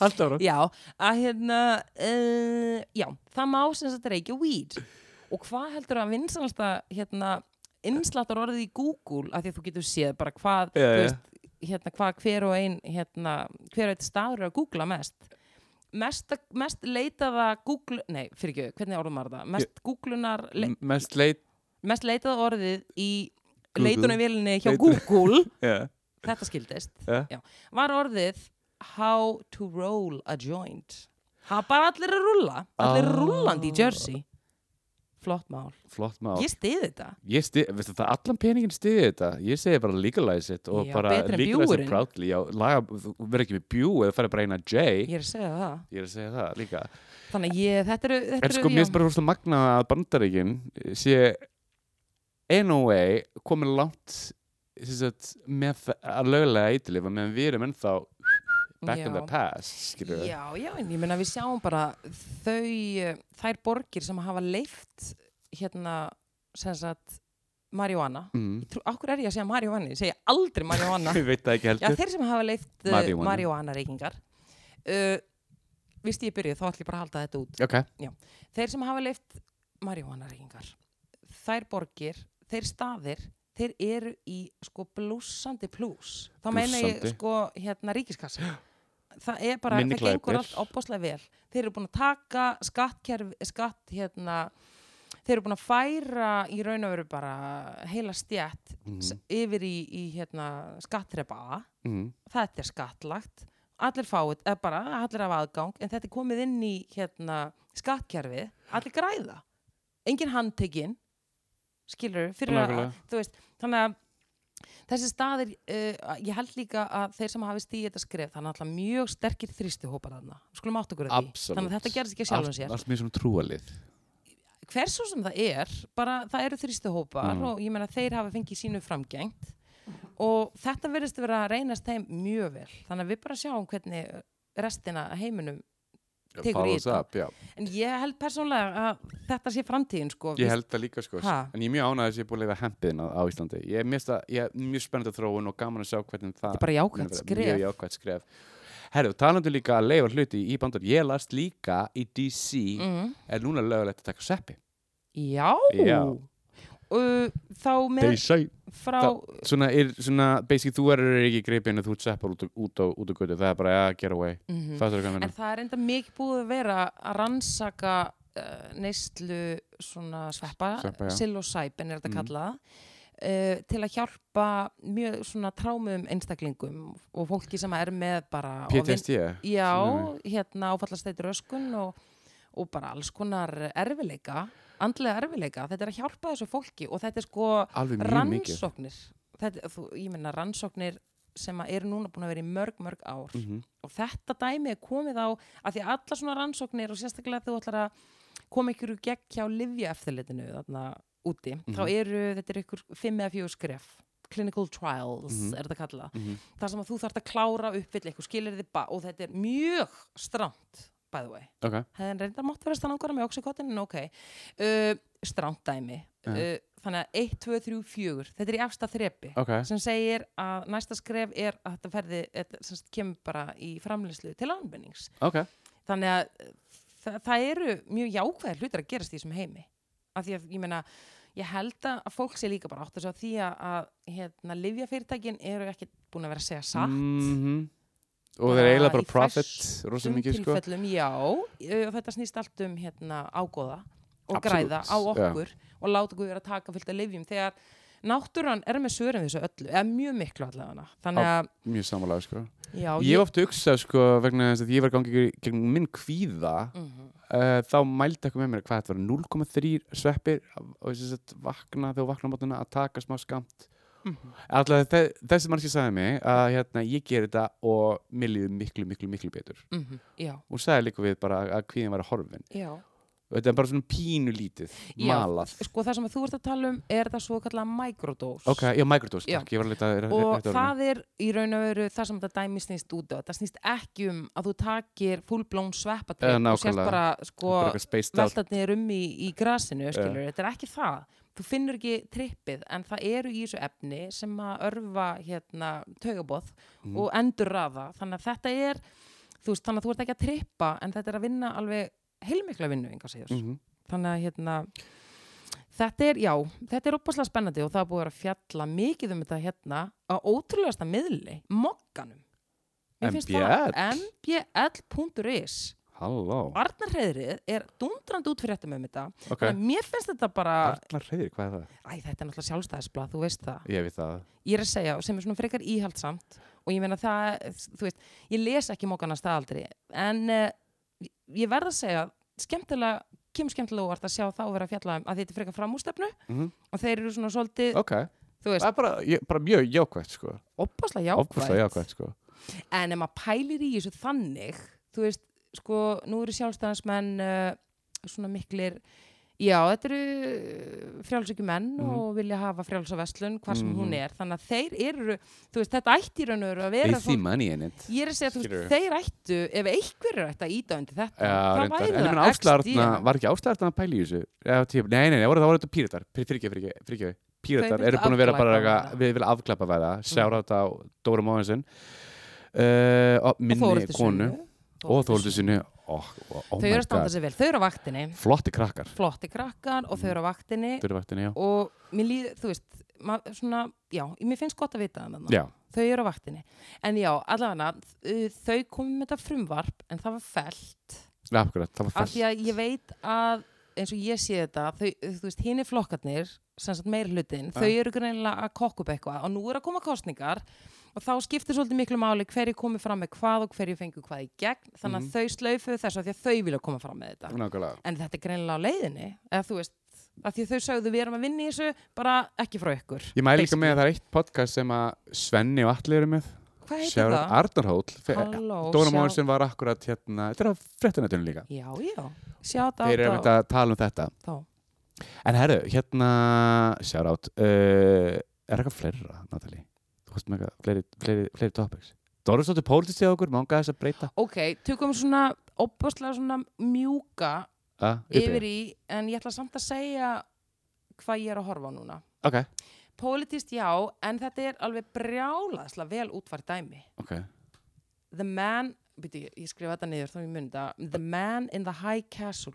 B: allt ára
A: já, að hérna uh, já, það má sem sagt reykja weed og hvað heldur að vinsanasta hérna, innslattar orðið í Google að því að þú getur séð bara hvað
B: Já,
A: þú
B: já.
A: veist, hérna, hvað hver og ein hérna, hver og eitt staður er að googla mest mest, mest leitaða Google, nei, fyrir ekki, hvernig orðum maður það mest googlunar, le,
B: mest leit
A: mest leitaða orðið í
B: Google.
A: leitunarvélinni hjá
B: Leitun-
A: Google
B: yeah.
A: þetta skildist
B: Ja.
A: já, var orðið how to roll a joint það er bara allir að rulla allir
B: Ah.
A: ah. rullandi í Jersey flott mál,
B: flott maður
A: ég stiði þetta
B: Ég stið, veistu það, allan peningin stiði þetta Ég segi bara legalize it og
A: Já,
B: bara
A: betra en
B: legalize it
A: bjúgurinn.
B: proudly Já, laga, þú verður ekki með bjú eða færi bara eina J
A: ég er að segja það,
B: Ég er að segja það líka
A: þannig að ég, þetta eru þetta
B: En
A: eru-
B: sko,
A: já.
B: mér er bara húslega magna að bandaríkin sé anyway komin langt sem sagt, með það- að lögulega eitilifa meðan við erum ennþá back in
A: Já.
B: the past skilur við
A: Já, já, en ég meina við sjáum bara þau, eh, þær borgir sem hafa leift hérna, sem sagt, marihuana.
B: mm.
A: Trú, Akkur er ég að segja marihuana, ég segja aldrei marihuana.
B: Ég veit það ekki
A: já,
B: heldur
A: þeir sem hafa leift uh,
B: Marihuana.
A: marihuana reykingar. Uh, vist ég byrjuð, þá ætlum ég bara að halda þetta út.
B: Ok,
A: Þeir sem hafa leift marihuana reykingar, þær borgir, þeir staðir, þeir eru í sko blúsandi plús. Þá meina ég
B: Blússandi.
A: sko hérna ríkiskassa. Það er bara,
B: Minni
A: það gengur
B: glæpir.
A: allt opbáslega vel. Þeir eru búin að taka skattkerf, skatt hérna, þeir eru búin að færa í raun og veru bara heila stjætt
B: Mhm.
A: mm. yfir í, í hérna skattrepa A
B: mm.
A: þetta er skattlagt allir fáið, eða bara allir af aðgang en þetta er komið inn í hérna skattkerfið, allir græða engin handtekinn skilur fyrir að,
B: Nákvæmlega.
A: þú veist þannig að þessi staðir uh, ég held líka að þeir sem hafi stíð þetta skref, það er náttúrulega mjög sterkir þrýstihópar þarna, skulum átt okkur á því
B: Absolutt.
A: þannig að þetta gerðist ekki af sjálfum sér
B: Allt, allt mér svona trúalið
A: hversu sem það er, bara það eru þrýstuhópar
B: Mhm.
A: og ég meina þeir hafa fengið sínu framgengt og þetta verðist að vera að reynast þeim mjög vel þannig að við bara sjáum hvernig restina af heiminum Tekur í
B: Follows
A: þetta.
B: up, já
A: en ég held persónlega að þetta sé framtíðin sko
B: Ég held það líka sko,
A: Ha?
B: en ég er mjög ánægð að ég er búin að leiða hempiðin á, á Íslandi. Ég er mjög, ég er mjög spennt að þróun og gaman að sjá hvernig það
A: Þetta er bara jákvætt
B: mjög-
A: skref.
B: Mjög jákvæmt skref. Herru, talandu líka að leiða hluti í bandar. Ég last líka í DC,
A: mm.
B: er núna lögulegt að taka seppi.
A: já,
B: Já.
A: Uh, þá með
B: say.
A: frá
B: Svona, er, svona, basically, þú verður ekki gripin að þú ert seppar út, á- út, á- út á götu. Það er bara, ja, get away.
A: mm
B: Mm. Fattur hvað ég
A: en
B: meina?
A: það er enda mikið búið að vera að rannsaka uh, neyslu svona sveppa,
B: Sveppa, já.
A: psilocybin er þetta
B: Mhm.
A: kallað uh, til að hjálpa mjög svona trámum einstaklingum og fólki sem er með bara ofin-
B: PTSD?
A: já,
B: Svona
A: hérna áfallastæti röskun og, og bara alls konar erfileika, andlega erfileika þetta er að hjálpa þessu fólki og þetta er sko
B: Alveg mjög mikið.
A: rannsóknir þetta, þú, ég meina rannsóknir sem að eru núna búin að vera í mörg, mörg ár
B: mm -hmm.
A: og þetta dæmi er komið á að því alla svona rannsóknir og sérstaklega þú ætlar að koma ykkur úr gegn hjá livja eftirlitinu þarna úti, þá
B: Mhm.
A: eru, þetta eru ykkur 5 eða 4 skref, clinical trials
B: Mhm.
A: er þetta kallað,
B: Mm -hmm.
A: þar sem að þú þarft að klára uppfyll ykkur skilir þið ba og þetta er mjög stramt, by the way
B: ok,
A: hefðin reyndar mátt vera strangara með oxykotin en ok, uh, strangt dæmi
B: Já.
A: uh, þannig að 1, 2, 3, 4 þetta er í efsta þrepi
B: ok,
A: sem segir að næsta skref er að þetta ferði, þetta sem sagt kemur bara í framlýslu til almennings.
B: ok
A: Þannig að það, það eru mjög jákvæðir hlutir að gerast í þessum heimi. Af því að, ég meina, ég held að fólk sé líka bara átt þess að því að, að hérna, livjafyrirtækin eru ekki búin að vera að segja satt.
B: Mhm. og
A: Bara
B: þeir eiginlega bara
A: í
B: profit
A: fæstum
B: rosa mikið sko
A: tilfellum, já, uh, og þetta snýst allt um hérna ágóða og
B: Absolutt,
A: græða á okkur og láta okkur vera að taka fullt af livjum þegar náttúran er með sörum þessu öllu, eða mjög miklu allavega. Þannig að,
B: mjög samanlega sko
A: já,
B: ég ofta hugsað sko vegna þess að ég var gangið gegn minn kvíða
A: Mhm.
B: uh, þá mældi eitthvað með mér hvað þetta var 0,3 sveppir og þess að vakna þegar þú vakna á mótuna að taka smá skamt
A: Mhm.
B: alltaf þe- þessi mannski sagði mig að hérna, ég ger þetta og mér líður miklu, miklu, miklu betur
A: Mhm, Já,
B: og sagði líka við bara að kvíðin var að horfin
A: já.
B: og þetta er bara svona pínu lítið
A: Já.
B: malað
A: Sko það sem þú ert að tala um er það svo kallega microdose.
B: ok, já, microdose,
A: Já.
B: takk, ég var að leita að-
A: Og
B: réttu orðinu.
A: það er í raun og veru það sem þetta dæmi snýst út á. Það snýst ekki um að þú takir fullblón
B: Eh,
A: sveppatrygg og sérst
B: nákvæmlega.
A: bara sko
B: Bara eitthvað spaced out
A: veltatnið um í, í grasinu, skilur. Þetta er ekki það. Þú finnur ekki trippið en það eru í þessu efni sem að örfa hérna taugabóð
B: Mhm.
A: og endur raða. Þannig að þetta er, þú veist, þannig að þú ert ekki að trippa en þetta er að vinna alveg heilmikla vinnu, enga segjur.
B: mm -hmm.
A: þannig að hérna þetta er, já, þetta er opaslega spennandi og það er búið að vera að fjalla mikið um þetta hérna á ótrúlegasta miðli mokkanum Mér finnst það- mbl.is
B: Halló,
A: Varnarhreðrið er dundrand út fyrir þetta með þetta
B: ok
A: okay. mér finnst þetta bara,
B: Arnar Reyðir, hvað er það?
A: æ, þetta er náttúrulega sjálfstæðisblað þú veist það,
B: Ég veit það
A: ég er að segja sem er svona frekar íhaldsamt og ég meina það, þú veist, ég les ekki mokkana staðaldri, en uh, ég verð að segja, skemmtilega kemur skemmtilega úr að sjá þá vera að fjalla um að þetta er frekar framústefnu
B: mm
A: og þeir eru svona svolítið,
B: Ok,
A: þú
B: það
A: veist,
B: er bara, ég, bara mjög jákvætt sko
A: opaslega
B: Ofkvæmstlega
A: jákvæð
B: jákvætt sko
A: en ef maður pælir í þessu þannig þú veist, sko, nú eru sjálfstæðansmenn uh, svona miklir já, þetta eru frjálsökjum menn
B: Mhm.
A: og vilja hafa frjálsa verslun hvar sem hún
B: Mhm.
A: er, þannig að þeir eru þú veist, þetta ætti í raun og veru að vera
B: They see money in it
A: ég er að segja, þú veist,
B: Skilurðu?
A: þeir ættu ef einhverjur ættu að íta undir þetta
B: Já,
A: þá
B: reyndar.
A: væri
B: En ég
A: það
B: meina áslaðarna,
A: XD.
B: var ekki áslaðarna að pæla í þessu? Já, típ, nei, nei, nei, voru það voru þetta píratar, fyrirgefi, fyrirgefi, píratar
A: vildu
B: eru búin að vera bara,
A: afglæpavæða. Mm.
B: eitthvað- við vilja afklappa væða, sjára þetta á Dóra Móðinsson, uh, og
A: Og
B: minni
A: Þórhildi
B: konu
A: Sunnu.
B: og Þóldu
A: Sunnu.
B: sinni, oh, oh, oh
A: þau
B: my
A: eru að standa
B: god,
A: sér vel, þau eru á vaktinni
B: flotti krakkar,
A: flotti krakkar og þau eru á vaktinni
B: dörrvættinni, já.
A: og mér líður, þú veist mað, svona, já, mér finnst gott að vita þannig
B: Já,
A: þau eru á vaktinni, en já, allavega uh, þau komum með þetta frumvarp en það var felt,
B: akkurat, það var
A: af
B: fast.
A: því að ég veit að eins og ég sé þetta þau, þú veist, hinn er flokkarnir sem sagt meir hlutin,
B: Ja.
A: þau eru greinilega að kokka upp eitthvað og nú er að koma kostningar og þá skiptir svolítið miklu máli hverju komið fram með hvað og hverju fengu hvað í gegn þannig að
B: Mhm.
A: þau slaufuðu þessu af því að þau vilja koma fram með þetta
B: Nákvæmlega.
A: en þetta er greinilega á leiðinni eða þú veist, að því að þau sögðu við erum að vinna í þessu, bara ekki frá ykkur
B: Ég mæli líka með að það er eitt podcast sem að Svenni og Atli eru með,
A: hvað heitir
B: sjára
A: það?
B: Arnar Hóll, fe-
A: Halló,
B: Dóra
A: sjá-
B: Móðinsson var akkurat hérna, þetta er á fréttanætunum líka.
A: já, já, sjátt á
B: Þeir eru einmitt
A: þá
B: að tala um þetta.
A: þá.
B: En herru, hérna Shout out Er eitthvað fleira, Natalie? Þú veist með eitthvað, fleiri, fleiri, fleiri topics Doris Dóttir Pólitist í okkur, manga þess að breyta
A: ok, tökum svona opaslega svona mjúka
B: uh,
A: yfir í, en ég ætla samt að segja hvað ég er að horfa á núna
B: Ok,
A: politist já, en þetta er alveg brjálaðslega vel útvært dæmi
B: ok
A: The Man, byrju, ég skrifa þetta niður þá ég muni þetta, The Man in the High Castle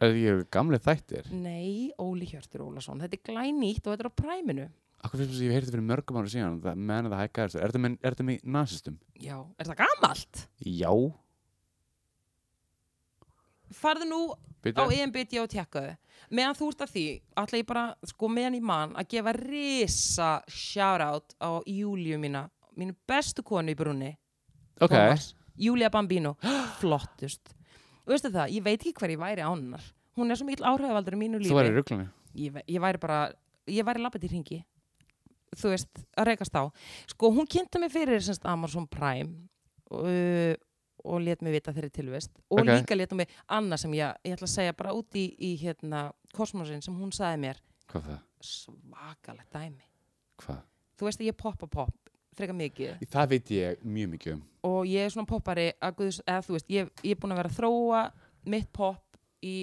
B: Er því eru gamli þættir?
A: nei, Óli Hjörtur Ólason þetta er glænýtt og þetta er á præminu
B: Akkur finnst þess að ég hef heyrði fyrir mörgum ára síðan Það menn að það hækka þessu Er þetta með, er þetta með nasistum?
A: já, er það gamalt?
B: Já
A: farðu nú á E
B: Býta
A: EMBD og tjekkaðu meðan þú ert að því, ætla ég bara sko meðan ég man að gefa risa shoutout á Júliu mína mínu bestu konu í brunni
B: Ok,
A: Thomas, Júlia Bambino flottust, og veistu það, ég veit ekki hver ég væri ánunar, hún er svo mjög áhrifavaldur í mínu lífi,
B: þú var í ruglunni
A: ég, ve- ég væri bara ég væri labbað til hringi þú veist, að reykast á sko, hún kynnti mig fyrir semst Amazon Prime uh, og let mig vita þeirri tilvist og
B: Ok.
A: líka let mig annað sem ég, ég ætla að segja bara út í, í hérna, kosmosin sem hún sagði mér
B: Hvað það?
A: svakalegt dæmi
B: Hvað?
A: þú veist að ég poppa pop frekar mikið
B: Það veit ég mjög mikið um.
A: og ég er svona poppari að guðs, eða þú veist, ég, ég er búin að vera að þróa mitt pop í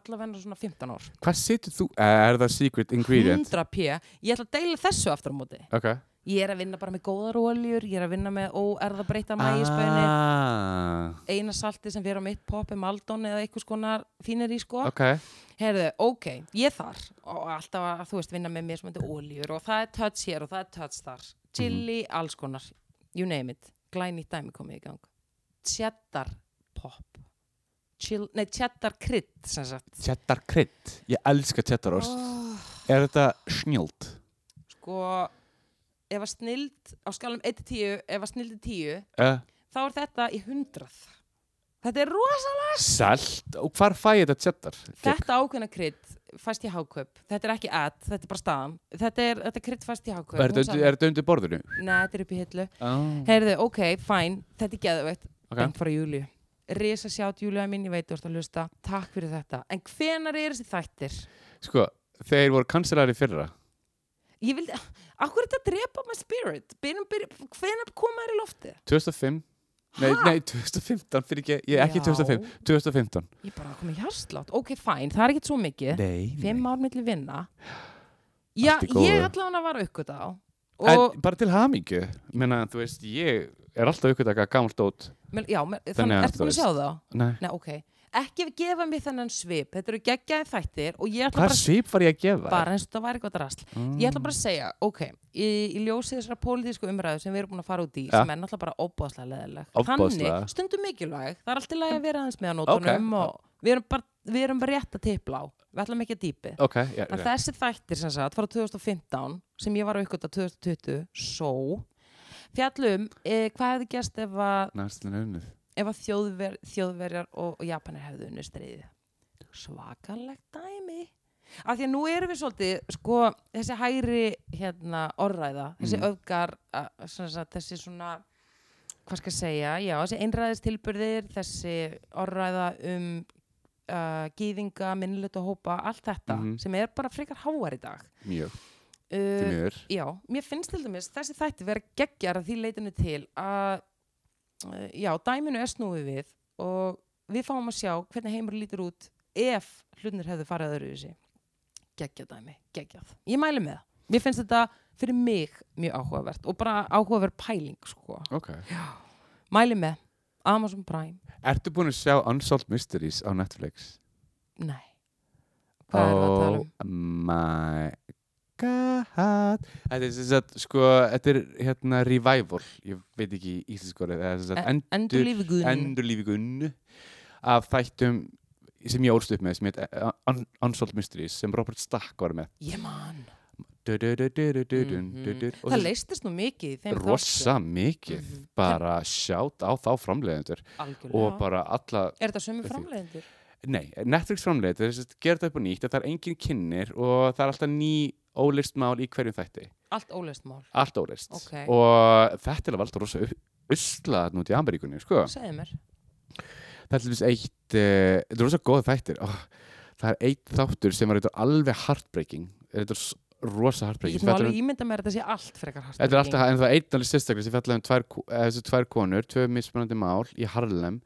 A: allavega svona 15 ár
B: Hvað situr þú? Eh, Er það secret ingredient?
A: 100p, ég ætla að deila þessu aftur á móti
B: Ok.
A: ég er að vinna bara með góðar oljur ég er að vinna með óerðabreittar mægispöni
B: Ah,
A: eina salti sem fyrir á mitt pop er Maldon eða eitthvað skonar fínir í sko
B: ok.
A: Herðu, ok, ég þar og alltaf að þú veist vinna með mér sem þetta oljur og það er touch hér og það er touch þar chili, alls konar, you name it glænýtt dæmi komið í gang cheddar pop Chill, nei, cheddar krydd sem sagt
B: Cheddar krydd. Ég elska cheddar ost.
A: oh,
B: Er þetta snjöld?
A: sko ef að snild á skalum 1-10 ef að snildi 10
B: Uh,
A: þá er þetta í 100 þetta er rosa
B: salt? Og hvar fæ ég þetta cheddar?
A: Þetta ákveðna krydd fæst í hákaup Þetta er ekki ad, þetta er bara staðan Þetta er, þetta er krydd fæst í hákaup
B: Er
A: Hún
B: þetta
A: sagði-
B: er þetta undir borðinu?
A: Nei, þetta er upp í hillu
B: Oh.
A: Heyrðu, ok, fine, þetta er geðveitt
B: Ok.
A: Bent frá Júliu Risa sjátt Júliu að minni, veit þú ert að hlusta Takk fyrir þetta, en hvenar er þessi þættir?
B: Sko, þeir voru kanslari fyrra.
A: Ég vildi, akkur er þetta að drepa my spirit? Byrjum, byrjum, hvenar koma þær í loftið?
B: 2005. Nei, nei, 2015 fyrir ekki, ég ekki
A: Já.
B: 2005, 2015
A: Ég bara komið hjarslátt, ok, fine, það er ekkert svo mikið
B: Nei,
A: Fimm ár milli vinna Já,
B: Allt í góðu.
A: ég allan að vara aukvitað á og,
B: En bara til hamingju, menna, þú veist, ég er alltaf ykkur daga gamalt dót
A: en, já, men-
B: Þannig
A: þannig,
B: að
A: ertu
B: þú
A: búin að
B: veist.
A: sjá þá?
B: Nei,
A: Nei, ok. Ekki gefa mér þennan svip. Þetta eru geggjaði þættir og ég ætla
B: hvað
A: bara að
B: svip var ég að gefa?
A: bara eins og þetta væri gott rast. Ég ætla bara að segja, ok, í, í ljósi þessara pólitísku umræðu sem við erum búin að fara út í,
B: Ja.
A: sem er náttúrulega bara óbúðslega leðileg.
B: Ofboðslega.
A: Þannig, stundum mikilvæg, það er alltaf lægi að vera aðeins með á nótunum og við erum bara, við erum bara rétt að tipla á. Við ætlum ekki að dýpi.
B: Ok, já,
A: En
B: já.
A: þessi þættir sem sagt frá 2015 sem ég var á ykkur 2020, svo fjallum, eh, hvað hefði gerst ef að
B: næstin unnið
A: ef að þjóðver, þjóðverjar og, og Japanir hefðu unni stríði svakalegt dæmi af því að nú erum við svolítið sko, þessi hægri hérna, orræða, þessi
B: Mhm.
A: mm. öfgar a- sem sagt, þessi svona hvað skal ég segja, já, þessi einræðistilburðir þessi orræða um uh, gýðinga minnilegta hópa, allt þetta
B: Mhm.
A: sem er bara frekar háar í dag
B: Mjög, því
A: uh,
B: miður
A: Já, mér finnst til dæmis þessi þætti vera geggjar að því leitinu til að uh, já, dæminu er snúið við og við fáum að sjá hvernig heimur lítur út ef hlutnir hefðu farið öðru í þessi. Geggja dæmi, geggjað. Ég mæli með það. Mér finnst þetta fyrir mig mjög áhugavert og bara áhugaverð pæling, sko.
B: Ok
A: Mæli með Amazon Prime.
B: Ertu búin að sjá Unsolved Mysteries á Netflix?
A: Nei. Hvað er það að tala um?
B: Oh my god Þetta er sem sagt, sko, þetta er hérna revival Ég veit ekki í íslenskorið Það er sem sagt
A: Endur lífi guðinu.
B: endurlífi gunnu af þættum sem ég ólst upp með sem heit uh, Un- Unsolved Mysteries sem Robert Stack var með
A: Ég man.
B: du, du, du, du, du, du, du, du, du. og
A: Mhm. Það leistist nú mikið í þeim
B: rosa mikið
A: Mhm.
B: bara sjátt á þá framleiðendur
A: þáttum.
B: og
A: Algjörlega.
B: bara alla
A: Er þetta sömu
B: Því.
A: framleiðendur?
B: nei, Netflix framleiðendur þess að gera þetta upp á nýtt það er engin kynnir og það er alltaf ný ólist mál í hverjum þætti
A: Allt óleist mál.
B: allt ólist
A: Ok.
B: og þetta er alveg alltaf rosa u- usla þarna út í Ameríkunni sko.
A: Segðu mér.
B: það er til dæmis eitt eh, þetta er rosa góða þættir oh, það er eitt þáttur sem er eitthvað alveg heartbreaking þetta er s- rosa
A: Ég
B: heartbreaking
A: get nú
B: Þetta er-
A: alveg ímynda mér að þetta sé allt frekar hart.
B: þetta er alltaf, en það er eitt alveg sérstaklega sem fjallar um tvær, ko- eh, þessu tvær konur tvö mismunandi mál í Harlem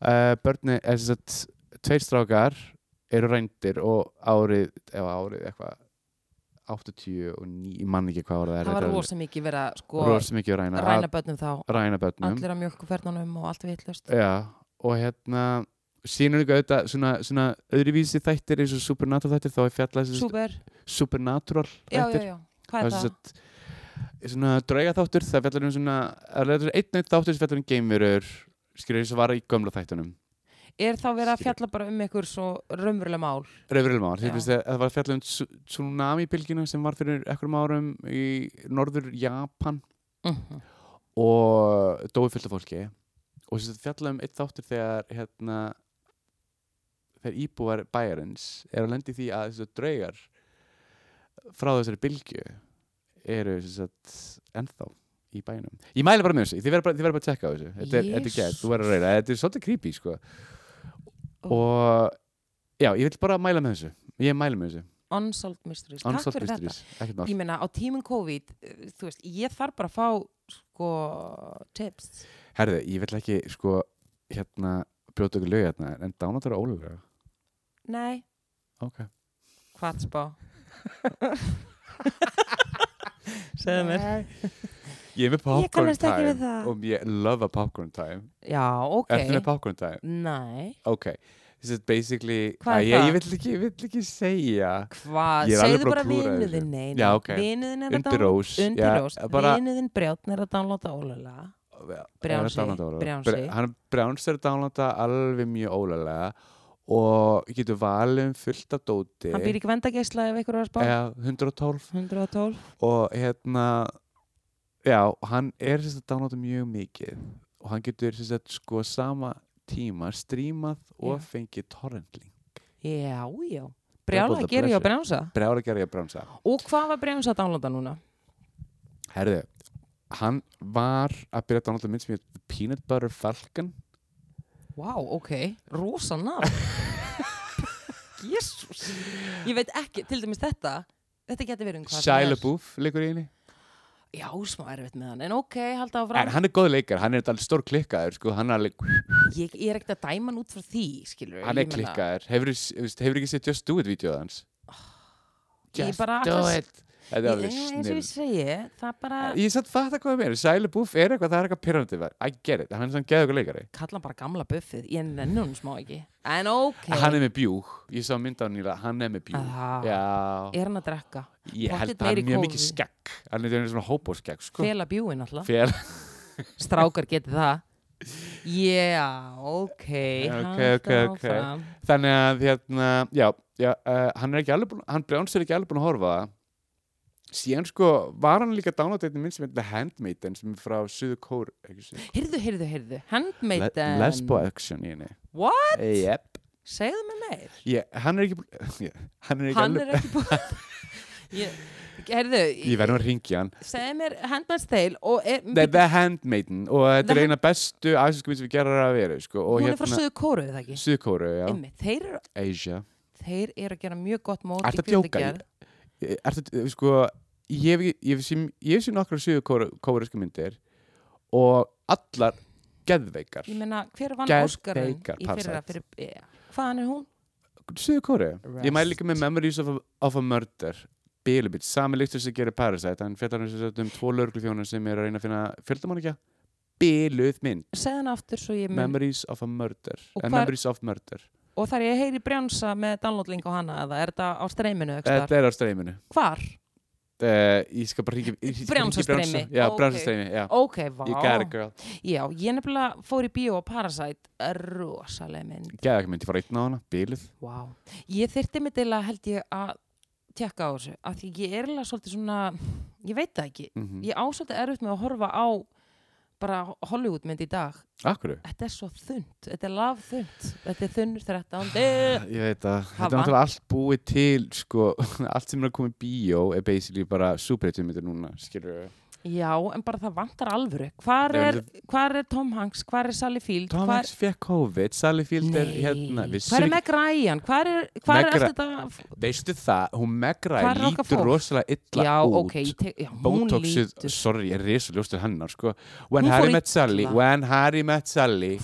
B: uh, börni, eða sem sagt tveir strákar eru reyndir og árið, eða árið eitthvað 89 og 9, ég man ekki hvað var það er
A: Það var
B: þetta er
A: rosa mikið verið að sko
B: rosa mikið að ræna,
A: ræna börnum þá.
B: að ræna börnum
A: Allir á mjölkuferðunum og allt vitlust.
B: Já, og hérna sínur líka auðvitað svona, svona öðruvísi þættir eins og Supernatural þættir þá er fjallað sem sagt
A: Súper.
B: Supernatural
A: Já, já,
B: þættir
A: já. Hvað er
B: sem
A: það?
B: sagt svona drauga þáttur það fjallar um svona það er einn eitt þáttur sem fjallar um geimverur skilur þess að vara í gömla þættunum
A: Er þá verið að
B: Skilur.
A: fjalla bara um einhver svo raunverulega mál?
B: Rauðurlumár,
A: Já.
B: það var fjallar um tsu- tsunami-bylginu sem var fyrir ekkurum árum í norður Japan Mhm. og dói fullt af fólki og þess að fjalla um eitt þáttur þegar hérna þegar íbúar bæjarins er að lendi því að þess að draugar frá þessari bylgju eru sem sagt, ennþá í bænum ég mæli bara með þessu, þið verður bara, þið verður bara að tekka á þessu þetta er, þetta er gett, þú verður að reyna, þetta er svolítið creepy sko. og já, ég vil bara mæla með þessu ég mæli með þessu,
A: Unsolved Mysteries, takk
B: Unsolved
A: fyrir
B: Mysteries ekkert
A: þetta
B: mál,
A: ég meina á tímum COVID eh, þú veist, ég þarf bara að fá sko tips
B: herði, ég vil ekki sko, hérna, brjóta okkur lög hérna en dánatar er ólega
A: nei,
B: ok,
A: hvað spá segðu mér
B: ég er
A: Ég
B: með popcorn
A: kannast ekki við
B: time
A: það.
B: og ég love a popcorn time
A: já, ok
B: ertu með popcorn time?
A: nei,
B: ok, this is basically
A: Hvað er
B: Æ, ég,
A: það?
B: ég vil ekki, ég vill ekki segja
A: hvað,
B: Ég er alveg
A: segðu
B: bara
A: bara
B: að klúðra þessu.
A: vinuðin nei, nei.
B: Já, ok.
A: vinuðin er að
B: undir
A: downloada
B: rós eh,
A: undir rós,
B: bara,
A: vinuðin brjátn er að downloada ólega Brjánsi, Brjánsi.
B: Brjánsi hann Brjáns er að downloada alveg mjög ólega og getur valið um fullt af dóti
A: hann býr í vendageisla ef ykkur var að spá
B: Já, 112
A: 112
B: og hérna já, og hann er sérst að downloada mjög mikið og hann getur sérst að sko sama tíma strímað og
A: Já.
B: fengið torrentling
A: já, já, brjála
B: Double the
A: gerir ég á
B: pleasure.
A: brjánsa
B: Brjála gerði að Brjánsa
A: og hvað var brjánsa að downloada núna?
B: Herðu, hann var að byrja að downloada mynd sem ég Peanut Butter Falcon
A: Vá, ok, rosa nafn Jésús Ég veit ekki, til dæmis þetta Þetta getur verið um hvað
B: Shia
A: sem er.
B: LaBeouf leikur í henni
A: Já, smá erfitt með hann, en ok, halda
B: En
A: áfram
B: hann er góð leikar, hann er þetta alveg stór klikkaður sko, hann er alveg,
A: ég, ég er ekkert að dæma hann út frá því, skilur
B: hann er klikkaður hefur, hefur ekki sett Just Do It vídeoð hans
A: Ég bara
B: Do
A: ætla-
B: It Þetta er
A: Ég,
B: alveg
A: eins og
B: snill
A: ég segi, það bara
B: Ég satt fatt að hvað meira, Sæli Búf er eitthvað, það er eitthvað pyrrandi I get it, hann er svona geðugur leikari
A: kalla hann bara gamla buffið, ég nennu hann smá ekki En ok,
B: Hann er með bjúg, ég sá mynd á hann nýla, hann er með bjúg
A: Aha.
B: Já,
A: er hann að drekka
B: ég
A: pottþétt
B: held að hann
A: meiri
B: er mjög
A: kófi.
B: mikið skegg Hann er svona hópóskegg sko.
A: Fela bjúin alltaf,
B: Fél
A: strákar geti það Já, ok
B: Ok,
A: halda
B: ok, ok.
A: áfram.
B: Þannig að hérna, já, já uh, hann er ekki alveg búin, hann brjáns er ekki alveg búin að horfa á það. Síðan sko, var hann líka dánátið minn sem heitir The Handmaiden sem er frá Suður Kór, ekki Suður
A: Heyrðu, heyrðu, heyrðu,
B: Le
A: handmaiden
B: Lesbo action í henni.
A: What?
B: Yep.
A: Segðu mér meir
B: Ég, hann er ekki búin, ég, hann er ekki
A: Hann
B: alveg,
A: er ekki búinn Ég- Heyrðu,
B: ég verðum að ringja hann.
A: segðu mér Handmaid's Tale og er,
B: The, the Handmaiden og þetta
A: The
B: er eina bestu asísku mynd sem við gerar að vera, sko. Og
A: hún er frá söðu kóru það ekki
B: Suður Kóru, já,
A: Einmitt, þeir, eru-
B: Asia.
A: þeir eru að gera mjög gott mót
B: Ertu að djóka? Ég- ertu, sko, ég hef, ekki- ég hef, sýn- ég hef sér nokkra sögur kóresku myndir og allar geðveikar
A: Ég meina, hver vann
B: Geðveikar
A: Óskarinn í fyrra
B: Parasite.
A: fyrir, ja. Hvaðan er hún?
B: sögur kóre ég mæli líka með
A: Rest.
B: Memories of a, of a Murder Bilibit, sami líktur sem gerir Parasite hann fjallar hans um tvo lörglufjónar sem er að reyna að finna fjöldamannekja biluð mynd,
A: Segðu hann aftur svo ég mun
B: Memories of a Murder
A: Mm. Og
B: eh,
A: hvar-
B: Memories of Murder
A: Og þar ég heyri brjánsa með downloadling á hana eða er þetta á streyminu? Þetta...
B: þetta er á streyminu
A: Hvar?
B: uh, ég skal bara ringi
A: Brjánsastreymi.
B: já,
A: Ókei.
B: brjánsastreimi, já
A: Ok, vá
B: You got it girl
A: Já, ég nefnilega fór í bíó á Parasite rosaleg mynd
B: Geðveik mynd, ég fór einn á hana, biluð
A: Vá. Ég þyrti mig til að held ég að tjekka á þessu, af því ég er alveg svolítið svona, ég veit það ekki
B: mm -hmm.
A: ég á svolítið erfitt með að horfa á bara Hollywoodmynd í dag
B: Akkurru?
A: þetta er svo þund, þetta er lav þund þetta er þunnur Eh, 13 Ugh.
B: Ég veit að þetta
A: Hafa.
B: er náttúrulega allt búið til sko, allt sem er að koma í bíó er basically bara superhættumyndir núna skilur við.
A: Já, en bara það vantar alvöru hvar
B: Nei,
A: er, hvar er Tom Hanks, hvar er Sally Field
B: Tom Hanks fekk COVID, Sally Field
A: hvar,
B: er hérna
A: Nei,
B: vissir
A: hvar er
B: ekki-
A: Meg Ryan hvar er, hvar
B: Meg
A: er allt
B: Ra-
A: þetta
B: Veistu það, hún megra
A: Hvar er okkar
B: lítur
A: fólk?
B: rosalega illa
A: Já,
B: út
A: ok, ég tek, já, hún
B: Botoxið,
A: lítur
B: sorry, ég er risaljóstur hennar sko. When
A: Hún
B: Harry
A: fór
B: met Sally
A: illa.
B: When Harry met Sally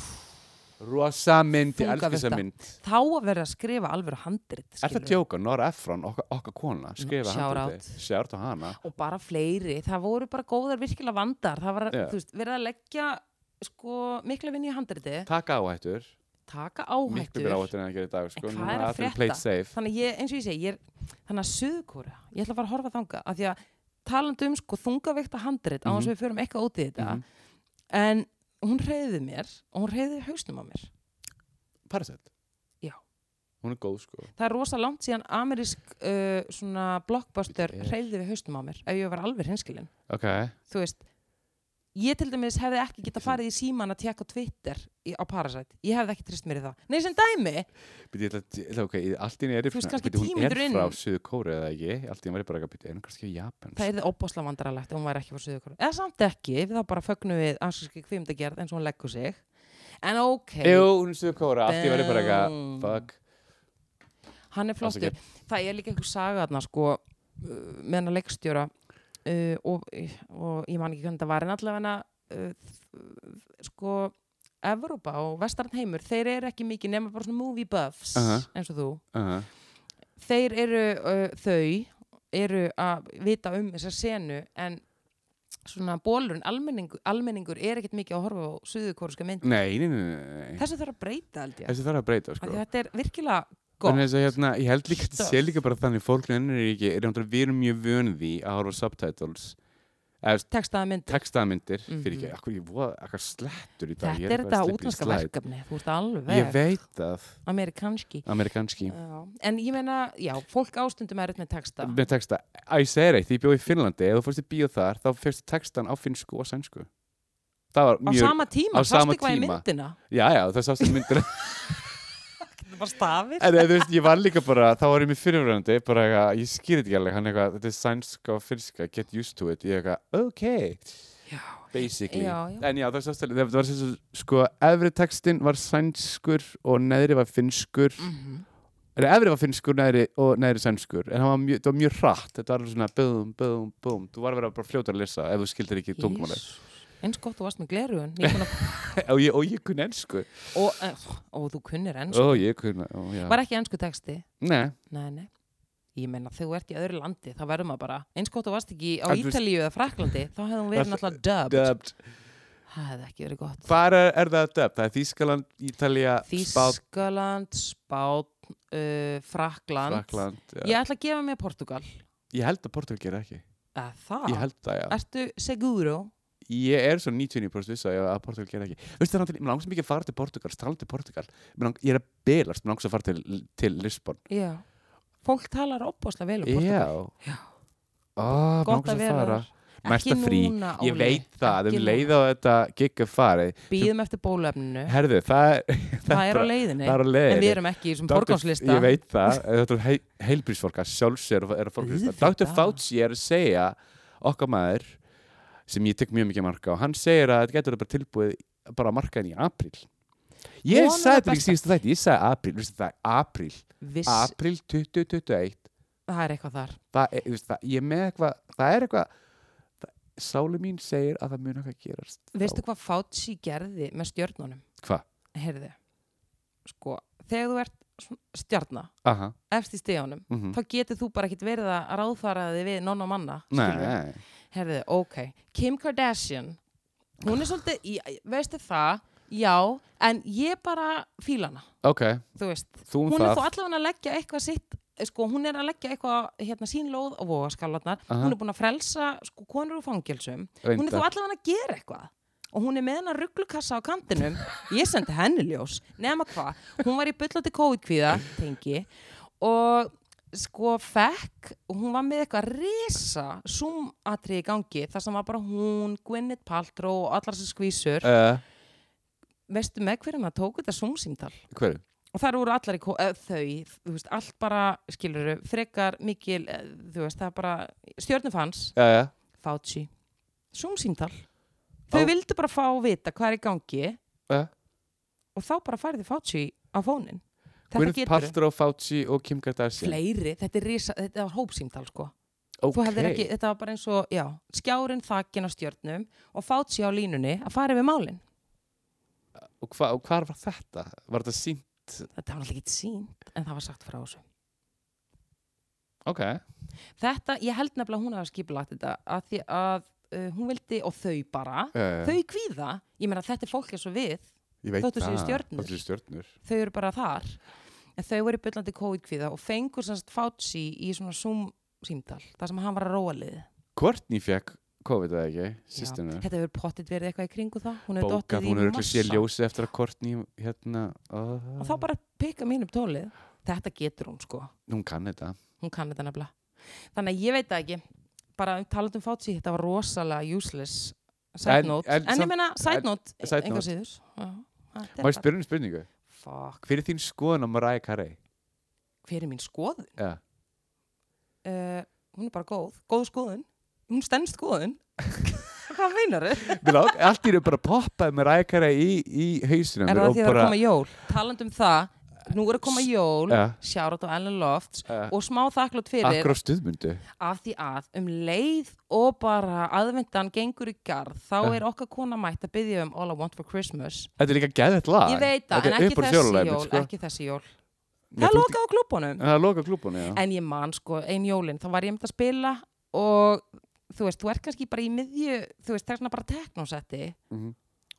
B: Rosa mynd, ég
A: Þunga
B: elska þessa
A: þetta.
B: mynd
A: þá að vera að skrifa alvöru handrit
B: Er það tjóka, Nora Ephron, okkar, okkar kona skrifa
A: Mhm, Shout
B: handriti, sjárt á hana
A: og bara fleiri, það voru bara góðar virkilega vandar, það var
B: Já.
A: þú veist, verið að leggja sko miklu vinni í handriti,
B: Taka áhættur
A: taka
B: miklu
A: áhættur
B: meira áhættur en að gera í dag sko.
A: En hvað
B: Núna
A: er að
B: allir
A: frétta?
B: played safe.
A: þannig að ég, eins og ég segi ég er, þannig að söðkóra, ég ætla að fara að horfa þanga af því að talandi um sko þungaveikta handrit á
B: Mhm.
A: hans við förum eitthvað út í þetta
B: Mhm.
A: en hún reyði mér og hún reyði hausnum á mér
B: Parasite
A: Já.
B: Hún er góð sko
A: það er rosa langt síðan amerísk uh, svona blockbuster
B: Þetta er-
A: reyði við hausnum á mér ef ég var alveg hinskilin
B: Ok
A: þú veist ég til dæmis hefði ekki geta farið í síman að tekka Twitter í, á Parasite ég hefði ekki trist mér í það nei sem dæmi,
B: Býtu, ég ætla, ég ætla, ok, ég- allt í henni er
A: Þú veist, kannski
B: býtu,
A: tíu
B: hún er
A: mínútur inn.
B: frá Suðu Kóru eða ekki, allt í henni var ég bara eitthvað, býtu, er hún kannski í Japan?
A: það er óbásla vandrarlegt ef hún væri ekki frá Suðukur eða samt ekki, við þá bara fögnum við anskriski kvimdagerð eins og hún leggur sig en ok,
B: Jú, hún er Suðu Kóru, allt í henni var ég bara eitthvað,
A: Damn.
B: fuck.
A: hann er flottur það er líka eitthvað sagaðna sko uh, með hann að leikstjóra uh, og, og ég man ekki hvernig það var en allavega uh, sko Evrópa og vestarn heimur þeir eru ekki mikið nema bara svona movie buffs
B: Aha.
A: eins og þú
B: Uh
A: þeir eru, uh, þau eru að vita um þessa senu en svona bólurinn, almenningur, almenningur er ekkert mikið að horfa á suðukóruska mynd
B: Nei, nei, nei, nei, nei.
A: þessu þarf að breyta held ég
B: Þessi þarf að breyta,
A: af
B: sko.
A: því þetta er virkilega gott
B: Þannig að hérna, ég held líka að þetta sé
A: Stuff.
B: líka bara þannig fólk ennur er ekki, er náttúrulega við erum mjög vönið því að horfa á subtitles eða
A: textaða myndir
B: textaðmyndir
A: Mhm.
B: fyrir ekki, akkur ég voða eitthvað slettur í dag
A: þetta
B: ég
A: er
B: eitthvað
A: þetta sko,
B: að slippa í
A: útlandska
B: slide.
A: verkefni þú ert alveg
B: Ég veit það,
A: amerikanski
B: amerikanski
A: Já. en ég meina, já, fólk ástundum er með texta
B: með texta, að ég segir eitt, ég bjóð í Finnlandi ef þú fórst í bíó þar, þá fyrst textan á finnsku og sænsku það var
A: á
B: mjög,
A: sama tíma,
B: á
A: sást
B: sama
A: eitthvað í
B: tíma.
A: myndina
B: já já, það sást það myndir
A: þetta var stafir
B: en eh, þú veist, ég var líka bara, þá var ég með fyrirvörandi bara eitthvað, ég skýrði ekki alveg hann eitthvað, þetta er sænska og finnska, get used to it ég eitthvað, ok
A: já,
B: basically
A: Já, já.
B: en já það var sérstaklega það var sérstaklega sko efri textin var sænskur og neðri var finnskur
A: mm
B: eða efri var finnskur neðri, og neðri sænskur en það var mjög, það var mjög hratt þetta var alveg svona bum bum bum þú var að vera bara fljótur að lesa ef þú skildir ekki tungumáli
A: eins gott þú varst með glerugun ég kunna
B: og, ég- og ég kunni ennsku
A: og, uh, og þú kunnir ennsku
B: og ég kunni ó, já.
A: var ekki ennsku texti
B: nei
A: nei, nei. ég meina þegar þú ert í öðru landi þá verður maður bara, eins gott þú varst ekki á
B: En þú veist-
A: Ítalíu eða Fraklandi þá hefði hún verið
B: Það-
A: náttúrulega dubbed
B: dubbed
A: það hefði ekki verið gott
B: hvað er, er það dubbed það er Þískaland Ítalija Spán
A: Þískaland, Spán, uh, Frakland
B: Frakland já.
A: ég ætla að gefa mér Portugal
B: ég held að Portugal gerir ekki
A: eða það,
B: ég held það já
A: ertu seguro
B: ég er svo 99% viss að ég- að Portugal gera ekki veistu það náttúrulega, mér langar svo mikið að fara til Portugal tala til Portugal, Mig lang, ég er að belast mér langar svo að fara til, til Lisbon
A: já, fólk talar opbáslega vel um Portugal
B: já, Ó,
A: gott að vera
B: fara.
A: þar
B: Næsta
A: Ekki
B: frí.
A: núna,
B: ég
A: Óli.
B: veit það,
A: Ekki
B: um leiða á þetta gig að fara,
A: býðum eftir bóluefninu
B: herðu það,
A: það er á
B: þetta-
A: leiðinni
B: það er að
A: en við
B: leiða
A: erum ekki í þessum
B: ég
A: forgangslista
B: veit það, þetta er heil, heilbrísfólk að sjálfsér og er að fólklista Dr.
A: Auðvitað.
B: Fauci er að segja okkar maður sem ég tek mjög mikið marka á, hann segir að þetta getur bara tilbúið bara markaðin í apríl ég
A: Vonum
B: sagði
A: það
B: þetta ekki
A: besta.
B: síðast þetta, ég sagði apríl veistu, það er apríl,
A: Viss,
B: apríl 2021
A: það er eitthvað þar
B: það er, þú veist, það, ég er með eitthvað það er eitthvað það- sálu mín segir að það mun eitthvað gerast þá.
A: Veistu hvað Fauci gerði með stjörnunum?
B: Hvað?
A: Heyrðu, sko, þegar þú ert svona stjarna,
B: Aha,
A: efst í stíðanum,
B: mhm.
A: þá getur þú bara ekkit verið að ráðfara þig við nonna manna.
B: Nei,
A: skilurðu.
B: nei,
A: Heyrðu, ok. Kim Kardashian, hún er svolítið, í, veistu það, já, en ég bara fíla hana,
B: ok,
A: þú veist.
B: þú um
A: Hún er
B: það
A: þó allavega að leggja eitthvað sitt, eh, sko, hún er að leggja eitthvað, hérna, sínlóð og vogaskallarnar.
B: Aha.
A: Hún er búin að frelsa, sko, konur úr fangelsum. hún er
B: reyndar.
A: þó allavega að gera eitthvað og hún er með hennar rugglukassa á kantinum ég sendi henni ljós, nema hvað hún var í byllandi COVID-kvíða tengi, og sko fekk, og hún var með eitthvað risa zoom-atri í gangi þar sem var bara hún, Gwyneth Paltrow og allar sem skvísur,
B: uh,
A: veistu með hverjum að tóku þetta zoom-símtal
B: hverju?
A: og þar voru allar í ko- eh, þau, þú veist, allt bara skilur, frekar mikil eh, þú veist, það er bara, stjörnufans
B: Já, já,
A: Fauci Zoom-símtal Þau
B: Á-
A: vildu bara fá að vita hvað er í gangi
B: já
A: og þá bara færði Fauci á fónin Þetta
B: Gwyneth
A: getur
B: Paltrow, Fauci og Kim Kardashian
A: fleiri, þetta, er risa, þetta var hópsímtal sko
B: okay.
A: Þú hefðir ekki, þetta var bara eins og já, skjárin þakin á stjörnum og Fauci á línunni að fara yfir málin
B: og, hva, og hvar var þetta? Var þetta sínt?
A: Þetta var náttúrulega ekki sínt en það var sagt frá þessu
B: Ok,
A: Þetta, ég held nefnilega að hún hafa skipulagt þetta að því að uh, hún vildi og þau bara,
B: Eh.
A: þau kvíða ég meina þetta er fólk eins og við
B: ég veit
A: þóttu séu
B: það.
A: stjörnur.
B: Þóttu séu stjörnur
A: þau eru bara þar en þau eru byllandi COVID-kvíða og fengur semst Fauci í svona Zoom símtal, þar sem hann var að róa liðið
B: Courtney fekk COVID eða ekki, sýstina
A: þetta hefur pottit verið eitthvað í kringu það hún hefur dottið
B: Bókað,
A: í
B: hún er ekki sé
A: massa
B: ljósi eftir að Courtney hérna oh,
A: og þá bara pikka mín upp tólið þetta getur hún sko,
B: Hún kann þetta
A: hún kann þetta nefnilega þannig að ég veit það ekki, bara um talandum Fauci þetta var rosalega useless Side
B: En-
A: note. En,
B: en
A: ég
B: samt-
A: meina,
B: en-
A: side note,
B: side
A: engar
B: note.
A: síður. Já, þetta er
B: Má ég
A: bara-
B: spyrja um spurningu?
A: Fuck,
B: Hver er þín skoðun á Mariah Carey?
A: hver er mín skoðun?
B: Ja.
A: Uh, hún er bara góð, góð skoðun. Hún stendst skoðun. Hvað meinar þau?
B: Mér lák- Allt í eru bara poppaði Mariah Carey í, í hausinum
A: Er
B: mér
A: það
B: og
A: því að það er
B: bara,
A: að koma jól? Taland um það, nú er að koma jól,
B: Ja.
A: sjárat á Ellen Lofts
B: Ja.
A: og smá þakklátt fyrir
B: Akkur á stuðmundu
A: af því að um leið og bara aðvendan gengur í garð þá er okkar kona mætt að byggja um All I Want For Christmas
B: Þetta er líka geðvett lag
A: Ég veit það, en
B: Þetta er
A: ekki
B: uppáhalds
A: þessi
B: jólalagið mitt,
A: jól,
B: sko.
A: ekki þessi jól
B: Nei,
A: Það
B: þú-
A: loka á klúbunum
B: Það er loka klúbun, já
A: En ég man sko, ein jólin, þá var ég mynd að spila og þú veist, þú ert kannski bara í miðju, þú veist, þessna bara teknósetti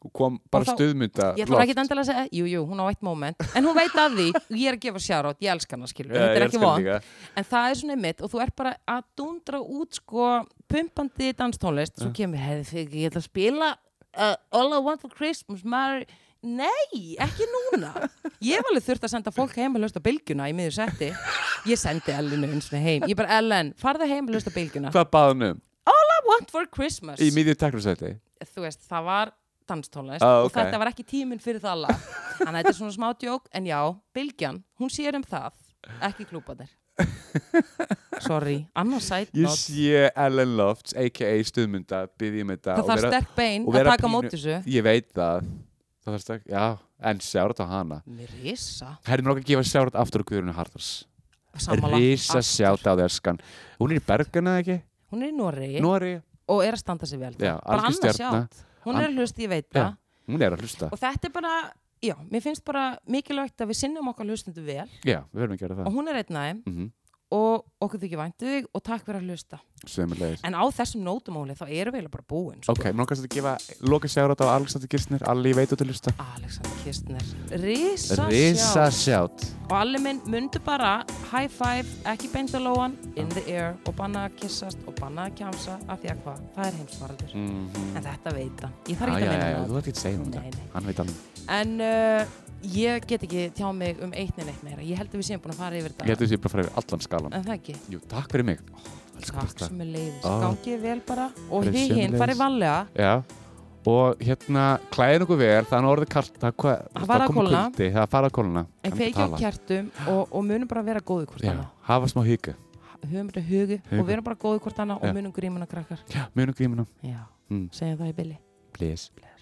B: Og kom bara
A: Og þá-
B: stuðmynda
A: Ég ætla ekki endilega að segja, jú, jú, hún á eitt moment en hún veit að því, og ég er að gefa sjárót ég elska hana, skilur, þetta er ekki von en það er svona mitt og þú ert bara að dundra út sko pumpandi danstónlist svo kemur, hefði fyrir ég ætla að spila uh, All I Want For Christmas Mary Nei, ekki núna Ég var alveg þurft að senda fólk heim að hlusta á bylgjuna í miður setti Ég sendi Ellinu eins og heim Ég bara, Ellen, farðu heim að hlusta á bylgjuna
B: Hvað baði hann um?
A: All I Want For Christmas
B: Í miðju teknusæti
A: Þú veist, það var danstónlist
B: Ah,
A: og
B: ok.
A: þetta var ekki tíminn fyrir það lag Þannig að þetta er svona smá djók En já, Bylgjan, hún sér um það ekki klúbanir Sorry, annars sætt
B: Ég sé Ellen Lofts, a.k.a. stuðmynda Byði um þetta
A: það
B: og
A: þarf
B: vera-
A: sterk bein
B: og
A: að
B: vera
A: taka
B: pínu-
A: mót þessu
B: Ég veit það Það þarf stakk, já En sjárat á hana
A: Mér risa
B: Herri, mér okkar að gefa sjárat aftur á Guðrunu Hardars
A: sammála.
B: Rísa
A: Aftur.
B: sjárat á þesskan Hún er í Bergana, ekki?
A: Hún er í Noregi
B: Nóri
A: og er að standa sig vel þar.
B: Já,
A: Bara
B: algjör
A: annars
B: stjarna.
A: sjátt Hún er hlust, ég veit það
B: Já. Hún er að hlusta
A: Og þetta er bara, já, mér finnst bara mikilvægt að við sinnum okkar hlustundu vel
B: Já, við verðum að gera
A: og
B: það
A: hún er einn aðeim
B: Mhm.
A: og okkur þykir væntu þig og takk fyrir að hlusta
B: Sömulegis
A: en á þessum nótumóli þá erum við eiginlega bara búin sko.
B: Ok, mér okkar að gefa Loka sjárat á Alexander Kirstner Alli veit að hlusta
A: Alexander Kirstner Risa,
B: Rísa
A: sjá
B: sjárat
A: og allir minn mundu bara high five, ekki beint á lóan in the air og banna að kissast og banna að kjamsa af því að hvað, það er heimsvaraldur en þetta veit hann, ég þarf
B: Já,
A: ekki
B: Mhm. já,
A: að
B: já,
A: minna
B: þú
A: það
B: ert ekki að segja hún
A: Nei,
B: þetta
A: nei.
B: Hann veit alveg
A: en uh, ég get ekki tjá mig um eitt neinn eitt meira, ég held að við séum búin að fara yfir
B: Ég
A: þetta
B: held að þessi bara fara yfir allan skalan
A: en það ekki
B: Jú, takk fyrir mig Elsku
A: Takk
B: besta.
A: sem er leiðis,
B: Ó.
A: gangið vel bara og
B: Bara
A: þið hinn
B: sömuleiðis.
A: farið vanlega
B: Já, og hérna klæðin okkur vel, það er nú orðið kalt það, hva,
A: Það var að
B: kom
A: kólna.
B: kuldi, það farað að kólna
A: en feikja á kjertum og, og munum bara vera góði hvort
B: Já,
A: annað
B: hafa smá híka
A: höfum þetta hugi
B: Hugur.
A: og verum bara góði hvort annað
B: Já.
A: og munum grímuna krakkar
B: munum grímuna,
A: já,
B: Mm.
A: segjum það í bylli
B: please, please.